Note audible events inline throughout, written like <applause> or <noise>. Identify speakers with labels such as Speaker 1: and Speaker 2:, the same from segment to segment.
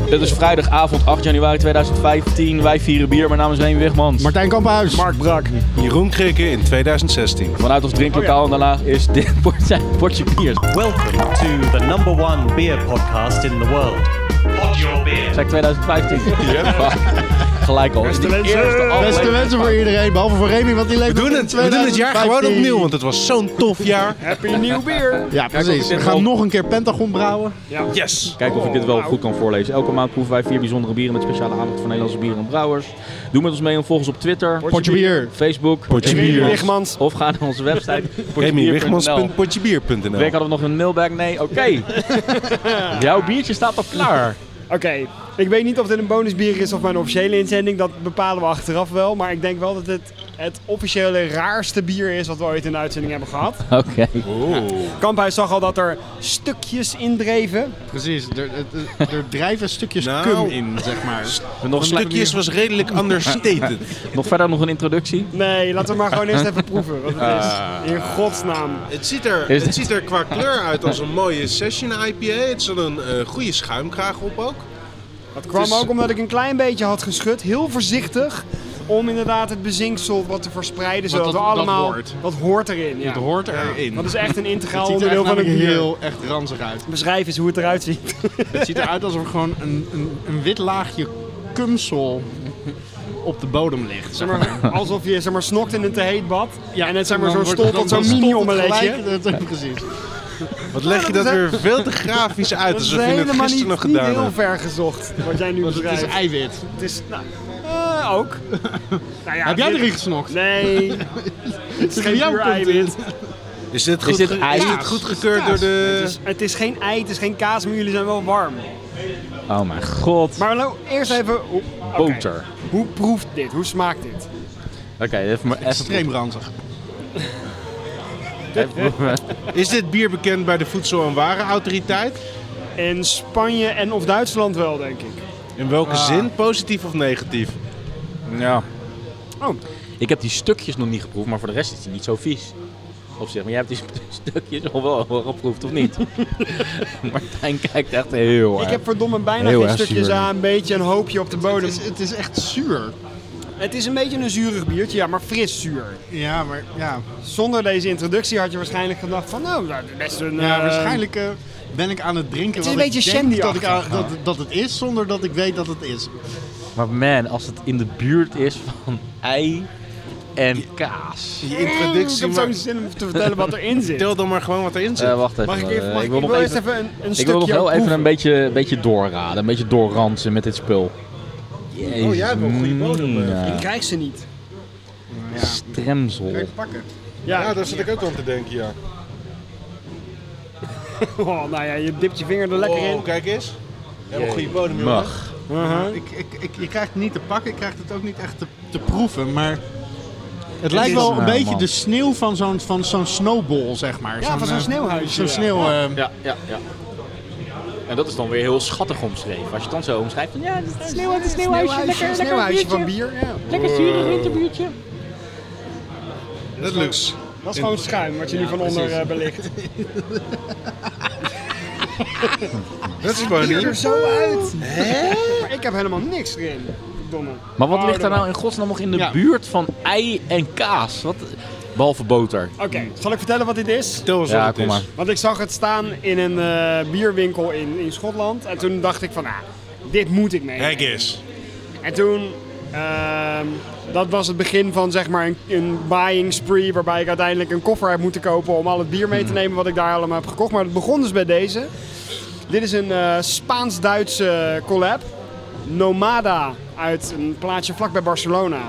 Speaker 1: Het is vrijdagavond 8 januari 2015. Wij vieren bier. Mijn naam is Reen Wigmans.
Speaker 2: Martijn Kamphuis. Mark Brak.
Speaker 3: Jeroen Krikke in 2016.
Speaker 1: Vanuit ons
Speaker 2: Oh
Speaker 1: drinklokaal en daarna is dit <laughs> portje, portje bier.
Speaker 4: Welcome to the number one beer podcast in the world. Pod your beer.
Speaker 1: Zeg 2015. <laughs> Fuck. Gelijk al. Beste
Speaker 3: wensen.
Speaker 2: Beste wensen voor iedereen, behalve voor Remy, want die leeft
Speaker 3: We doen het, we doen het jaar gewoon opnieuw, want het was zo'n tof jaar.
Speaker 1: <laughs>
Speaker 2: Ja, precies. We gaan nog een keer Pentagon brouwen.
Speaker 3: Yes!
Speaker 1: Kijken of ik dit wel goed kan voorlezen. Elke maand proeven wij vier bijzondere bieren met speciale aandacht voor Nederlandse bieren en brouwers. Doe met ons mee en volg ons op Twitter,
Speaker 2: Potje bier.
Speaker 1: Facebook,
Speaker 3: Potje
Speaker 1: Remy
Speaker 3: bier.
Speaker 1: Wigmans. Of ga naar onze
Speaker 2: <laughs>
Speaker 1: website potjebier.nl. Week
Speaker 3: RemyWigmans.potjebier.nl
Speaker 1: hadden we nog een mailbag? Nee, oké.
Speaker 2: <laughs>
Speaker 1: Jouw biertje staat al klaar.
Speaker 5: Oké, ik weet niet of dit een bonusbier is of mijn officiële inzending. Dat bepalen we achteraf wel. Maar ik denk wel dat het het officiële raarste bier is wat we ooit in de uitzending hebben gehad.
Speaker 1: Oké.
Speaker 5: Kamphuis zag al dat er stukjes indreven.
Speaker 2: Precies. Er, er, er drijven stukjes
Speaker 3: Nou.
Speaker 2: cum in, zeg maar.
Speaker 1: Nog, een stukje-
Speaker 3: Stukjes was <laughs> redelijk understated.
Speaker 1: nog verder nog een introductie.
Speaker 5: Nee, laten we maar gewoon eerst even proeven wat het is. In godsnaam.
Speaker 3: Het ziet, er,
Speaker 1: Is-
Speaker 3: het ziet er qua kleur uit als een mooie session IPA. Het zat een eh, goede schuimkraag op ook.
Speaker 5: Dat kwam
Speaker 3: is-
Speaker 5: ook omdat ik een klein beetje had geschud. Heel voorzichtig. Om inderdaad het bezinksel wat te verspreiden. Zodat
Speaker 3: dat-
Speaker 5: we
Speaker 3: dat
Speaker 5: allemaal...
Speaker 3: hoort.
Speaker 5: dat hoort erin, ja.
Speaker 3: Het hoort erin.
Speaker 5: Dat is echt een integraal
Speaker 2: Het ziet er
Speaker 5: onderdeel
Speaker 2: echt
Speaker 5: van een
Speaker 2: namelijk
Speaker 5: bier.
Speaker 2: heel echt ranzig uit.
Speaker 5: Beschrijf eens hoe het eruit ziet.
Speaker 2: Het ziet eruit alsof er gewoon een, een, een wit laagje cumsel op de bodem ligt.
Speaker 5: Zeg maar, alsof je zeg maar, snokt in een te heet bad. en het zeg maar,
Speaker 2: dan
Speaker 5: zo
Speaker 2: wordt-
Speaker 5: stolt
Speaker 2: dan-
Speaker 5: tot zo'n
Speaker 2: dan stolt het
Speaker 5: mini-omeletje.
Speaker 2: gelijk- dat- <laughs> Precies.
Speaker 3: Wat leg je dat weer veel te grafisch uit,
Speaker 5: <laughs> Dat is
Speaker 3: alsof je Dus het
Speaker 5: helemaal
Speaker 3: gisteren
Speaker 5: niet,
Speaker 3: nog
Speaker 5: niet
Speaker 3: gedaan
Speaker 5: heel
Speaker 3: hebt.
Speaker 5: ver gezocht, wat jij nu
Speaker 2: Want het is
Speaker 5: beschrijft.
Speaker 2: eiwit.
Speaker 5: Het is, nou, eh, ook. <laughs> Nou ja,
Speaker 2: Heb jij
Speaker 5: dit-
Speaker 2: erin gesnokt?
Speaker 5: Nee, <laughs> het is geen
Speaker 2: Jou
Speaker 5: puur
Speaker 2: komt
Speaker 5: eiwit.
Speaker 3: Is dit goed,
Speaker 1: dit
Speaker 3: ge-
Speaker 1: ei?
Speaker 3: is dit goed gekeurd door
Speaker 5: Het
Speaker 3: de...
Speaker 5: is, het is geen ei, het is geen kaas, maar jullie zijn wel warm.
Speaker 1: Oh mijn god.
Speaker 5: Maar lo- eerst even, hoe, oké.
Speaker 1: Boter.
Speaker 5: hoe proeft dit? Hoe smaakt dit?
Speaker 1: Oké, even maar even.
Speaker 2: Extreem ranzig.
Speaker 3: Is dit bier bekend bij de Voedsel- en Warenautoriteit?
Speaker 5: In Spanje en of Duitsland wel, denk ik.
Speaker 3: In welke zin? Positief of negatief?
Speaker 1: Ja.
Speaker 5: Oh.
Speaker 1: Ik heb die stukjes nog niet geproefd, maar voor de rest is die niet zo vies. Op zich, maar jij hebt die st- <laughs> stukjes al wel wel geproefd, of niet? <laughs> Martijn kijkt echt heel erg.
Speaker 5: Ik heb verdomme bijna
Speaker 1: Heel
Speaker 5: geen
Speaker 1: erg
Speaker 5: stukjes
Speaker 1: zuur.
Speaker 5: aan, een beetje een hoopje op de
Speaker 2: Het
Speaker 5: bodem.
Speaker 2: is, het is echt zuur.
Speaker 5: Het is een beetje een zuurig biertje, ja, maar fris zuur.
Speaker 2: Ja, maar ja.
Speaker 5: Zonder deze introductie had je waarschijnlijk gedacht van, nou, dat is best een...
Speaker 2: Ja,
Speaker 5: eh,
Speaker 2: waarschijnlijk eh, ben ik aan het drinken
Speaker 5: Het is
Speaker 2: wat
Speaker 5: een beetje
Speaker 2: ik denk dat, ik,
Speaker 5: shandy-achtig.
Speaker 2: aan- dat, dat het is, zonder dat ik weet dat het is.
Speaker 1: Maar man, als het in de buurt is van ei en kaas.
Speaker 3: Die
Speaker 5: Ik
Speaker 3: introductie...
Speaker 5: heb zo'n
Speaker 3: maar-
Speaker 5: zin om te vertellen wat
Speaker 1: <laughs>
Speaker 5: erin zit.
Speaker 3: Tel dan maar gewoon wat erin zit.
Speaker 1: Eh, wacht even.
Speaker 5: Mag ik,
Speaker 1: eh,
Speaker 5: even, mag ik,
Speaker 1: wil
Speaker 5: ik
Speaker 1: nog
Speaker 5: wil
Speaker 1: even,
Speaker 5: eerst even een, een
Speaker 1: ik
Speaker 5: stukje
Speaker 1: wil nog wel even
Speaker 5: proeven.
Speaker 1: een beetje, een beetje doorraden, een beetje doorransen met dit spul. Mm, Jezus,
Speaker 3: Oh, jij hebt wel een goede bodem, eh.
Speaker 1: mina.
Speaker 5: Ik krijg ze niet.
Speaker 1: Stremsel.
Speaker 2: pakken.
Speaker 5: Ja,
Speaker 3: Ja, daar zat ik ook aan te denken, ja.
Speaker 5: Oh, nou ja, je dipt je vinger er lekker in.
Speaker 3: Oh, kijk eens. Helemaal goede bodem, jongen.
Speaker 1: Mag.
Speaker 2: Ik, ik, ik, je krijgt het niet te pakken, ik krijg het ook niet echt te, te proeven, maar... Het
Speaker 5: is- eh,
Speaker 2: lijkt wel een
Speaker 1: Nou,
Speaker 2: beetje
Speaker 1: man.
Speaker 2: de sneeuw van zo'n van zo'n snowball, zeg maar.
Speaker 5: Ja, van zo'n
Speaker 2: eh,
Speaker 5: sneeuwhuisje,
Speaker 2: Zo'n
Speaker 5: ja.
Speaker 2: sneeuw... eh,
Speaker 1: Ja, ja, ja. En dat is dan weer heel schattig omschreven. Als je het dan zo omschrijft, dan ja, dat is
Speaker 6: Sneeuw uit een sneeuwhuisje, lekker,
Speaker 5: Een
Speaker 6: lekker
Speaker 5: sneeuwhuisje
Speaker 6: biertje.
Speaker 5: van bier. Ja.
Speaker 6: Lekker zuurig winterbiertje.
Speaker 3: Dat lukt.
Speaker 5: Dat is gewoon schuim wat je nu van onder eh, belicht.
Speaker 3: Dat is gewoon
Speaker 5: ziet er
Speaker 3: niet.
Speaker 5: zo uit. Maar ik heb helemaal niks erin. Domme.
Speaker 1: Maar wat
Speaker 5: Oh,
Speaker 1: ligt er
Speaker 5: domme.
Speaker 1: nou in godsnaam nog in de
Speaker 2: Ja.
Speaker 1: buurt van ei en kaas? Wat? Behalve boter. dus.
Speaker 5: Oké, zal ik vertellen wat dit is?
Speaker 3: Tel eens wat
Speaker 1: Ja,
Speaker 3: het
Speaker 1: kom
Speaker 3: is.
Speaker 1: maar.
Speaker 5: Want ik zag het staan in een eh, bierwinkel in, in Schotland. En toen dacht ik van, ah, dit moet ik mee.
Speaker 3: Kijk eens.
Speaker 5: En toen, ehm, dat was het begin van zeg maar een, een buying spree. Waarbij ik uiteindelijk een koffer heb moeten kopen om al het bier mee te nemen wat ik daar allemaal heb gekocht. Maar het begon dus bij deze. Dit is een eh, Spaans-Duitse collab. Nomada uit een plaatsje vlakbij Barcelona.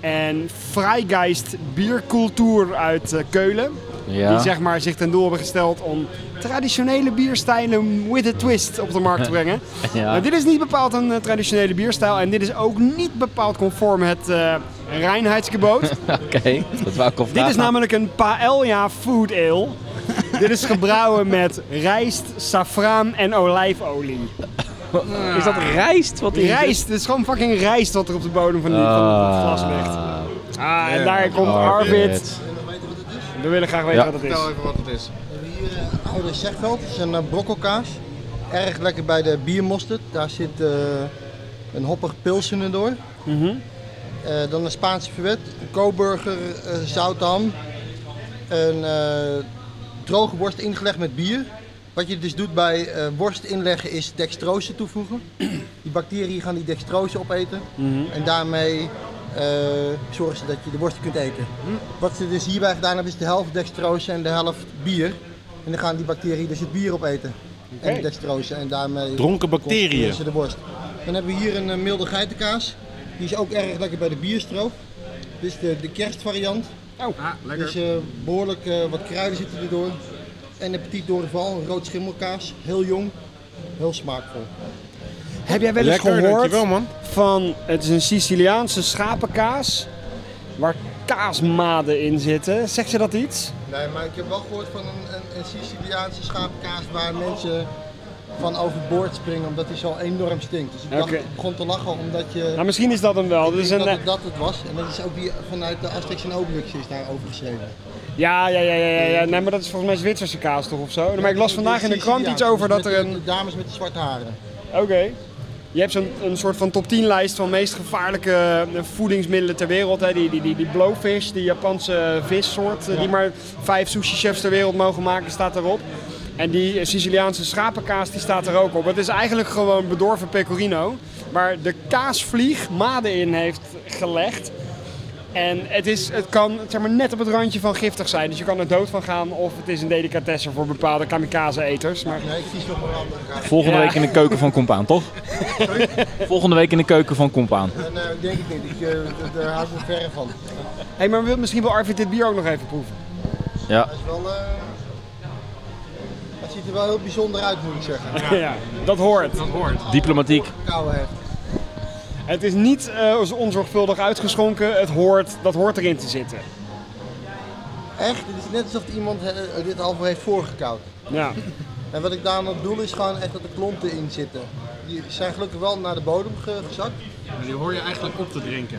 Speaker 5: En Freigeist Biercultuur uit eh, Keulen. Die zeg maar zich ten doel hebben gesteld om traditionele bierstijlen with a twist op de
Speaker 1: <laughs>
Speaker 5: markt te brengen.
Speaker 1: Ja.
Speaker 5: Nou, dit is niet bepaald een eh, traditionele bierstijl en dit is ook niet bepaald conform het eh
Speaker 1: <laughs>
Speaker 5: reinheidsgeboot.
Speaker 1: Oké, dat wou ik al
Speaker 5: dit is
Speaker 1: vragen.
Speaker 5: namelijk een paella food
Speaker 1: <laughs>
Speaker 5: ale. dit is gebrouwen met rijst, saffraan en olijfolie.
Speaker 1: Is dat Ah. rijst? Wat is
Speaker 5: Rijst, het is gewoon fucking rijst wat er op de bodem van, die,
Speaker 1: dit?
Speaker 5: van het
Speaker 1: Ah,
Speaker 5: glas ligt. Ah, en
Speaker 3: Ja,
Speaker 5: daar komt
Speaker 1: Arvid.
Speaker 5: Arvid. We willen graag weten
Speaker 1: Oh, Ja.
Speaker 5: wat het is.
Speaker 7: Vertel even wat het is.
Speaker 8: Die eh, oude Zegveld is een eh, brokkelkaas.
Speaker 7: erg lekker bij de biermosterd. Daar zit eh, een hoppig pilsener door. Eh, dan een Spaanse verwet, een koburger, eh zoutham, een eh, droge worst ingelegd met bier. Wat je dus doet bij eh, worst inleggen is dextrose toevoegen. Die bacteriën gaan die dextrose opeten
Speaker 2: Mhm.
Speaker 7: en daarmee eh, zorgen ze dat je de worst kunt eten. Wat ze dus hierbij gedaan hebben is de helft dextrose en de helft bier. En dan gaan die bacteriën dus het bier opeten. En de dextrose en daarmee...
Speaker 2: Dronken bacteriën.
Speaker 7: conserveren ze de worst. Dan hebben we hier een eh, milde geitenkaas. Die is ook erg lekker bij de bierstroop. Dit is de, de kerstvariant.
Speaker 2: Oh, ah,
Speaker 7: Dus eh, behoorlijk eh, wat kruiden zitten erdoor. En een petit doorval, een rood schimmelkaas. Heel jong, heel smaakvol.
Speaker 5: Heb jij wel eens
Speaker 3: Lekker,
Speaker 5: gehoord
Speaker 3: dankjewel man.
Speaker 5: van, het is een Siciliaanse schapenkaas, waar kaasmaden in zitten. Zegt je dat iets?
Speaker 7: Nee, maar ik heb wel gehoord van een, een, een Siciliaanse schapenkaas waar mensen van overboord springen omdat die zo enorm stinkt. Dus ik, dacht,
Speaker 5: Oké.
Speaker 7: ik begon te lachen omdat je...
Speaker 5: Nou, misschien is dat hem wel.
Speaker 7: ik
Speaker 5: Dus
Speaker 7: denk
Speaker 5: een,
Speaker 7: dat het dat het was. En dat is ook die vanuit de Asterix en Obelix is daarover geschreven.
Speaker 5: ja, ja, ja, ja, ja, ja. Nee, maar dat is volgens mij Zwitserse kaas toch of zo? Nou, Maar ik las vandaag in de krant iets over dat
Speaker 7: Met
Speaker 5: er
Speaker 7: de-
Speaker 5: een...
Speaker 7: De dames met de zwarte haren.
Speaker 5: Oké. Je hebt zo'n een soort van top 10 lijst van meest gevaarlijke eh, voedingsmiddelen ter wereld. Hè? Die, die, die, die blowfish, die Japanse vissoort, eh, die maar vijf sushi-chefs ter wereld mogen maken, staat erop. En die eh, Siciliaanse schapenkaas die staat er ook op. Het is eigenlijk gewoon bedorven pecorino, waar de kaasvlieg maden in heeft gelegd. En het, is, het kan zeg maar, net op het randje van giftig zijn. Dus je kan er dood van gaan of het is een delicatesse voor bepaalde kamikaze-eters. Maar
Speaker 7: Nee, ik kies nog een andere kaas.
Speaker 1: Volgende
Speaker 5: Ja.
Speaker 1: week in de keuken van Compaan, <laughs> toch? Volgende week in de keuken van Compaan.
Speaker 7: Eh, Nee, ik denk ik niet. Ik, eh, d- daar hou ik me verre van.
Speaker 5: Hé, maar wil- misschien wil Arvid dit bier ook nog even proeven.
Speaker 1: Ja.
Speaker 7: Dat is wel... eh, het ziet er wel heel bijzonder uit, moet ik zeggen.
Speaker 5: Ja. dat hoort.
Speaker 1: Diplomatiek.
Speaker 7: Koude heft.
Speaker 5: Het is niet eh, zo onzorgvuldig uitgeschonken, het hoort, dat hoort erin te zitten.
Speaker 7: Echt, het is net alsof iemand eh, dit al voor heeft voorgekoud.
Speaker 5: Ja.
Speaker 7: En wat ik daar aan het doel is gewoon echt dat de klonten in zitten. Die zijn gelukkig wel naar de bodem ge- gezakt.
Speaker 2: Die hoor je eigenlijk op te drinken.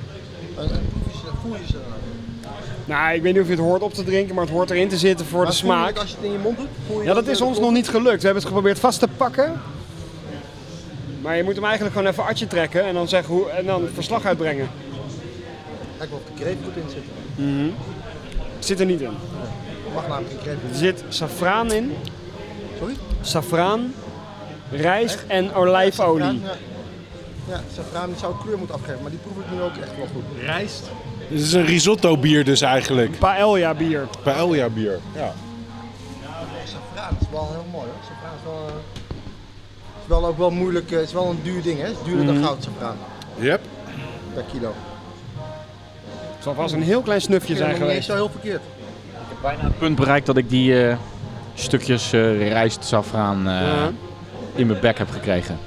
Speaker 7: En, en voel je ze- voel je ze dan ook.
Speaker 5: Nou, ik weet niet of je het hoort op te drinken, maar het hoort erin te zitten voor de
Speaker 7: Maar voel je het
Speaker 5: smaak.
Speaker 7: Als je het in je mond doet, voel je
Speaker 5: Ja,
Speaker 7: dan
Speaker 5: dat is
Speaker 7: de
Speaker 5: ons nog
Speaker 7: klonten?
Speaker 5: niet gelukt. We hebben het geprobeerd vast te pakken. Maar je moet hem eigenlijk gewoon even atje trekken en dan, zeggen hoe, en dan verslag uitbrengen.
Speaker 7: Lijkt wel of de kreef goed in zit.
Speaker 5: Het zit er niet in.
Speaker 7: Er mag namelijk geen kreef in
Speaker 5: Er zit safraan in.
Speaker 7: Sorry?
Speaker 5: Safraan, rijst en
Speaker 7: Ja,
Speaker 5: olijfolie.
Speaker 7: ja. Ja, safraan zou kleur moeten afgeven, maar die proef ik nu ook echt wel goed.
Speaker 2: Rijst.
Speaker 3: Dit is een risotto bier dus eigenlijk.
Speaker 5: Paella bier.
Speaker 3: Paella bier. Ja.
Speaker 7: Safraan is wel heel mooi hoor. Safraan is wel, eh, is wel ook wel moeilijk, eh, het is wel een duur ding hè. Het is duurder
Speaker 5: Mhm.
Speaker 7: dan goud safraan
Speaker 3: Yep.
Speaker 7: per kilo.
Speaker 5: Het zal vast een heel klein snufje
Speaker 7: Ik vind
Speaker 5: zijn
Speaker 7: het nog niet eens
Speaker 5: geweest.
Speaker 7: zo heel verkeerd.
Speaker 1: Het punt bereikt dat ik die eh, stukjes eh rijst, saffraan eh,
Speaker 5: Ja.
Speaker 1: in mijn bek heb gekregen.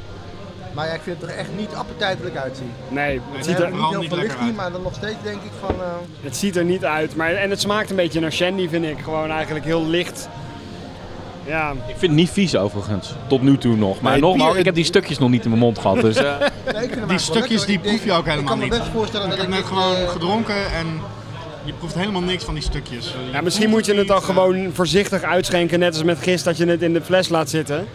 Speaker 7: Maar ja, ik vind het er echt niet appetijtelijk uitzien.
Speaker 5: Nee, het
Speaker 7: We
Speaker 5: ziet
Speaker 7: hebben
Speaker 5: er,
Speaker 7: niet
Speaker 2: vooral
Speaker 7: heel
Speaker 2: niet
Speaker 7: veel licht
Speaker 2: lekker
Speaker 7: hier,
Speaker 2: uit.
Speaker 7: maar dan nog steeds denk ik van... eh,
Speaker 5: Het ziet er niet uit, maar, en het smaakt een beetje naar shandy vind ik. Gewoon eigenlijk heel licht. Ja, nou,
Speaker 1: Ik vind het niet vies overigens, tot nu toe nog. Maar
Speaker 3: Nee,
Speaker 1: nogmaals,
Speaker 3: bier-
Speaker 1: ik heb die stukjes nog niet in mijn mond gehad. Dus, eh,
Speaker 7: nee, ik vind hem eigenlijk wel
Speaker 2: Die stukjes
Speaker 7: lekker.
Speaker 2: die
Speaker 7: Ik denk-
Speaker 2: proef je ook helemaal
Speaker 7: Ik
Speaker 2: niet.
Speaker 7: kan me best voorstellen
Speaker 2: Ik
Speaker 7: dat
Speaker 2: heb
Speaker 7: ik...
Speaker 2: net
Speaker 7: dit,
Speaker 2: gewoon
Speaker 7: eh,
Speaker 2: gedronken en je proeft helemaal niks van die stukjes.
Speaker 5: ja misschien moet je het
Speaker 2: eh,
Speaker 5: dan gewoon voorzichtig uitschenken. Net als met gist dat je het in de fles laat zitten.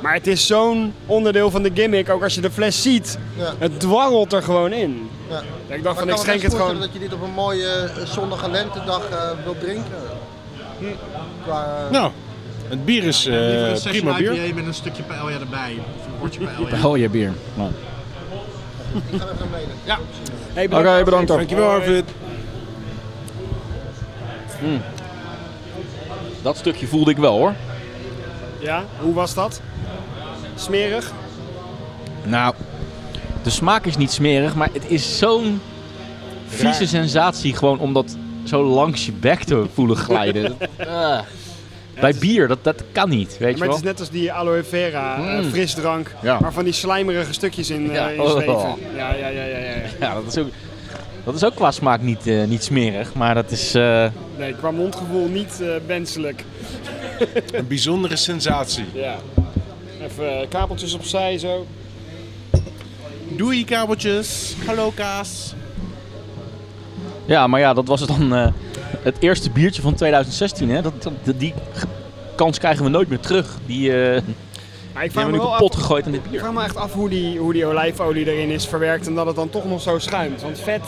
Speaker 5: Maar het is zo'n onderdeel van de gimmick. Ook als je de fles ziet,
Speaker 7: Ja.
Speaker 5: het dwarrelt er gewoon in.
Speaker 7: ja.
Speaker 5: Ik dacht
Speaker 7: Maar
Speaker 5: van,
Speaker 7: ik
Speaker 5: ik
Speaker 7: kan me
Speaker 5: schenk
Speaker 7: best
Speaker 5: het
Speaker 7: voorstellen
Speaker 5: gewoon.
Speaker 7: dat je dit op een mooie eh, zonnige lentedag eh, wilt drinken.
Speaker 2: Hm.
Speaker 7: Qua, eh,
Speaker 3: Nou, het bier is eh, prima bier.
Speaker 2: met een stukje paella erbij. Of een bordje
Speaker 5: <laughs>
Speaker 2: paella.
Speaker 1: hel je bier. Nou.
Speaker 7: Ik ga even mee.
Speaker 2: Ja.
Speaker 5: Hey,
Speaker 1: Oké, bedankt. hoor.
Speaker 3: Dankjewel Arvid.
Speaker 1: Dat stukje voelde ik wel hoor.
Speaker 5: Ja, hoe was dat? Smerig?
Speaker 1: Nou, de smaak is niet smerig, maar het is zo'n vieze sensatie gewoon om dat zo langs je bek te voelen glijden. Ah. Bij bier, dat, dat kan niet, weet je
Speaker 5: Maar het
Speaker 1: wel.
Speaker 5: is net als die aloe vera eh,
Speaker 1: Mm.
Speaker 5: frisdrank.
Speaker 1: Ja.
Speaker 5: Waar van die slijmerige stukjes in, eh
Speaker 1: Ja,
Speaker 5: in
Speaker 1: oh.
Speaker 5: zweven. Ja, ja, ja, ja, ja. ja.
Speaker 1: Ja, dat is ook, dat is ook qua smaak niet, eh, niet smerig, maar dat is... eh,
Speaker 5: Nee, qua mondgevoel niet eh, wenselijk.
Speaker 3: Een bijzondere sensatie.
Speaker 5: Ja. Even eh, kabeltjes opzij zo.
Speaker 3: Doei kabeltjes. Hallo kaas.
Speaker 1: Ja, maar ja, dat was het dan eh, het eerste biertje van 2016. Hè? Dat, dat- die kans krijgen we nooit meer terug. Die, eh,
Speaker 5: Maar ik
Speaker 1: Die
Speaker 5: vraag
Speaker 1: hebben
Speaker 5: me
Speaker 1: we nu
Speaker 5: wel
Speaker 1: kapot
Speaker 5: af,
Speaker 1: gegooid in dit
Speaker 5: ik
Speaker 1: bier.
Speaker 5: vraag me echt af hoe die, hoe die olijfolie erin is verwerkt en dat het dan toch nog zo schuimt. Want vet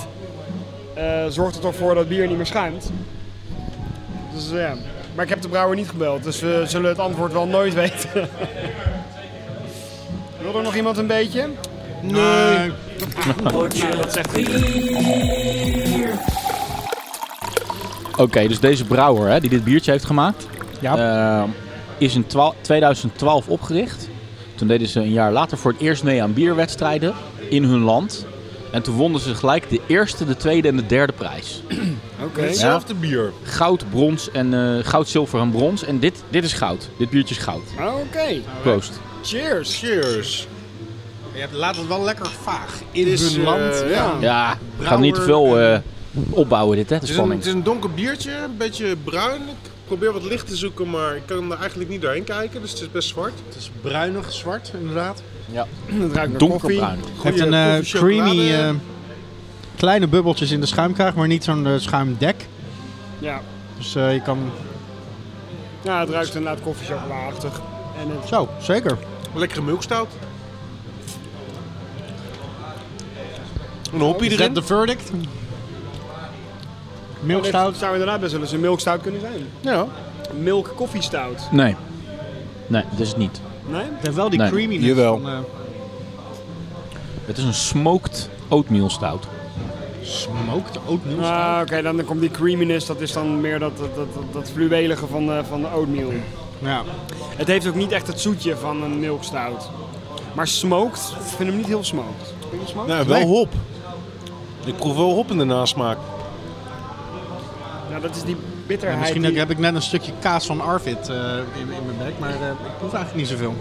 Speaker 5: eh, zorgt er toch voor dat bier niet meer schuimt. Dus ja. Maar ik heb de brouwer niet gebeld, dus we zullen het antwoord wel nooit <laughs> weten. Wil er nog iemand een beetje?
Speaker 2: Nee.
Speaker 5: dat zegt goed.
Speaker 1: Oké, dus deze brouwer hè, die dit biertje heeft gemaakt, eh, is in twa- 2012 opgericht. Toen deden ze een jaar later voor het eerst mee aan bierwedstrijden in hun land. En toen wonnen ze gelijk de eerste, de tweede en de derde prijs.
Speaker 5: Oké.
Speaker 3: Hetzelfde bier.
Speaker 1: Goud, brons en eh, goud, zilver en brons. En dit, dit is goud. Dit biertje is goud.
Speaker 5: Oké.
Speaker 1: Proost.
Speaker 5: Cheers.
Speaker 3: Cheers.
Speaker 2: Ja, laat het wel lekker vaag.
Speaker 3: In
Speaker 2: hun
Speaker 3: eh,
Speaker 2: land, ja.
Speaker 1: Ja, ik ga niet te veel eh, opbouwen dit, hè, de
Speaker 3: Het is, een,
Speaker 1: spanning.
Speaker 3: het is een donker biertje, een beetje bruin. Ik probeer wat licht te zoeken, maar ik kan er eigenlijk niet doorheen kijken, dus het is best zwart.
Speaker 2: Het is bruinig zwart, inderdaad.
Speaker 5: Het ruikt naar koffie.
Speaker 1: Donkerbruin.
Speaker 2: Het heeft een eh,
Speaker 3: koffie,
Speaker 2: creamy,
Speaker 3: chocolade.
Speaker 2: eh, kleine bubbeltjes in de schuimkraag, maar niet zo'n eh, schuimdek.
Speaker 5: Ja.
Speaker 2: Dus eh, je kan...
Speaker 5: ja, het ruikt inderdaad koffiechocolaachtig. En het
Speaker 2: Zo, zeker.
Speaker 3: Lekkere milkstout. Een hoppie
Speaker 2: Is dat
Speaker 3: erin.
Speaker 2: de verdict? Milkstout.
Speaker 5: zou inderdaad best wel eens een milkstout kunnen zijn.
Speaker 2: Ja.
Speaker 5: Milk koffiestout.
Speaker 1: Nee. Nee, dat is het niet.
Speaker 5: Nee?
Speaker 2: Het heeft wel die
Speaker 1: Nee,
Speaker 2: creaminess.
Speaker 3: jawel.
Speaker 2: Van, eh,
Speaker 1: Het is een smoked oatmeal stout.
Speaker 2: smoked oatmeal.
Speaker 5: Ah, Oké, dan komt die creaminess. Dat is dan meer dat, dat, dat, dat- dat fluwelige van, de- van de oatmeal.
Speaker 2: Ja.
Speaker 5: Het heeft ook niet echt het zoetje van een milkstout. Maar smoked, ik vind hem niet heel smoked. Vind je hem smoked?
Speaker 3: Nou, wel hop. Ik proef wel hop in de nasmaak.
Speaker 5: Nou, dat is die
Speaker 2: Ja,
Speaker 5: bitterheid.
Speaker 2: misschien
Speaker 5: die-
Speaker 2: heb ik net een stukje kaas van Arvid eh, in, in mijn bek, maar eh, ik proef eigenlijk niet zoveel.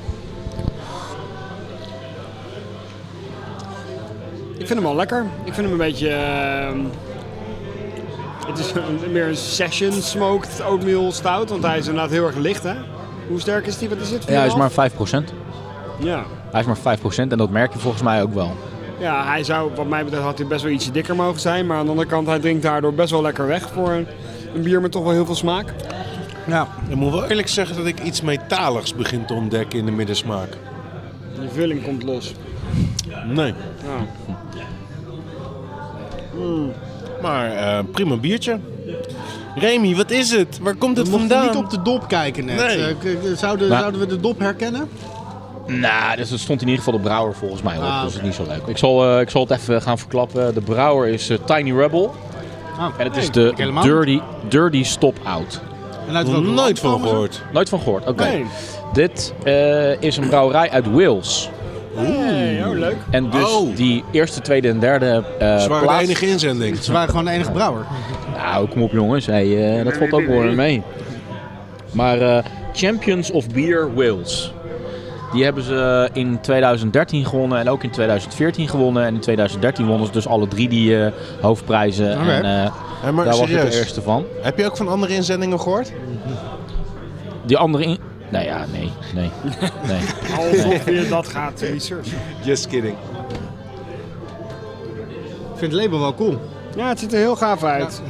Speaker 5: Ik vind hem al lekker. Ik vind hem een beetje. ehm, het is een- meer een session smoked oatmeal stout, want hij is inderdaad heel erg licht, hè? Hoe sterk is die? Wat is het?
Speaker 1: Ja, hij is maar 5%.
Speaker 5: 4,5?
Speaker 1: Hij
Speaker 5: Ja.
Speaker 1: is maar 5% en dat merk je volgens mij ook wel.
Speaker 5: ja, hij zou, wat mij betreft, had hij best wel ietsje dikker mogen zijn. Maar aan de andere kant, hij drinkt daardoor best wel lekker weg voor een, een bier met toch wel heel veel smaak.
Speaker 2: Ja.
Speaker 3: Ik moet wel eerlijk zeggen dat ik iets metaligs begin te ontdekken in de middensmaak.
Speaker 5: De vulling komt los.
Speaker 3: Nee. <laughs>
Speaker 5: Ja.
Speaker 3: Hmm, Maar eh, prima biertje. Remy, wat is het? Waar komt het
Speaker 2: We mochten
Speaker 3: vandaan?
Speaker 2: niet op de dop kijken net.
Speaker 3: Nee.
Speaker 2: Eh, k- k- zouden,
Speaker 1: Maar-
Speaker 2: zouden we de dop herkennen?
Speaker 1: Nou, dus dat stond in ieder geval de brouwer volgens mij op.
Speaker 2: Ah,
Speaker 1: dus
Speaker 2: oké.
Speaker 1: het is niet zo leuk. Ik zal, eh, ik zal het even gaan verklappen. De brouwer is eh, Tiny Rebel.
Speaker 2: Ah,
Speaker 1: En het is
Speaker 2: nee,
Speaker 1: de
Speaker 2: ik helemaal
Speaker 1: Dirty, dirty Stop Out.
Speaker 2: niet. En uit
Speaker 3: Nog
Speaker 2: welk land
Speaker 3: nooit van
Speaker 2: komen ze?
Speaker 3: gehoord.
Speaker 1: Nooit van gehoord. Oké.
Speaker 5: Nee.
Speaker 1: Dit eh, is een brouwerij uit Wales.
Speaker 5: Hey, oh, leuk.
Speaker 1: En dus
Speaker 3: Oh.
Speaker 1: die eerste, tweede en derde eh
Speaker 3: Ze waren de
Speaker 1: plaats-
Speaker 3: enige inzending.
Speaker 2: Ze waren gewoon de enige brouwer.
Speaker 1: Nou, kom op jongens. Hey, eh, dat valt ook wel weer mee. Maar eh, Champions of Beer Wales. Die hebben ze eh, in 2013 gewonnen en ook in 2014 gewonnen. En in 2013 wonnen ze dus alle drie die eh, hoofdprijzen.
Speaker 2: Oké.
Speaker 1: En eh,
Speaker 3: Hé, maar
Speaker 1: daar was ik
Speaker 3: serieus,
Speaker 1: de eerste van.
Speaker 3: heb je ook van andere inzendingen gehoord?
Speaker 1: Die andere... In... Nou ja, nee. Nee. <laughs> nee.
Speaker 5: Alsof <laughs> je dat gaat researchen.
Speaker 3: Just kidding.
Speaker 2: Ik vind het label wel cool.
Speaker 5: Ja, het ziet er heel gaaf uit.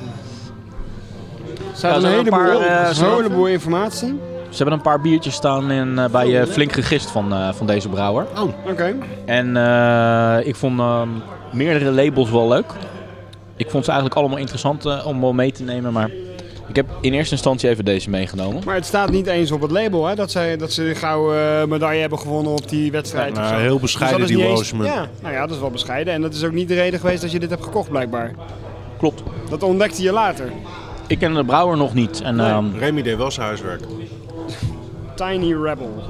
Speaker 5: Er
Speaker 1: Ja,
Speaker 5: staat een
Speaker 1: er zijn een
Speaker 5: heleboel,
Speaker 1: paar, eh,
Speaker 5: een heleboel informatie.
Speaker 1: Ze hebben een paar biertjes staan in, eh, bij eh, Flink Gegist van, eh, van deze brouwer.
Speaker 5: Oké.
Speaker 1: En eh, ik vond ehm, meerdere labels wel leuk. Ik vond ze eigenlijk allemaal interessant eh, om wel mee te nemen, maar ik heb in eerste instantie even deze meegenomen.
Speaker 5: Maar het staat niet eens op het label, hè? Dat, zij, dat ze gauw eh medaille hebben gewonnen op die wedstrijd. of zo.
Speaker 3: Nou, heel
Speaker 5: Dus dat
Speaker 3: bescheiden
Speaker 5: is
Speaker 3: die
Speaker 5: niet eens-
Speaker 3: Roosman.
Speaker 5: Ja, nou ja, dat is wel bescheiden. En dat is ook niet de reden geweest dat je dit hebt gekocht, blijkbaar.
Speaker 1: Klopt.
Speaker 5: Dat ontdekte je later.
Speaker 1: Ik ken de brouwer nog niet. En,
Speaker 5: Nee.
Speaker 1: ehm,
Speaker 3: Remy deed wel zijn huiswerk.
Speaker 5: Tiny Rebel.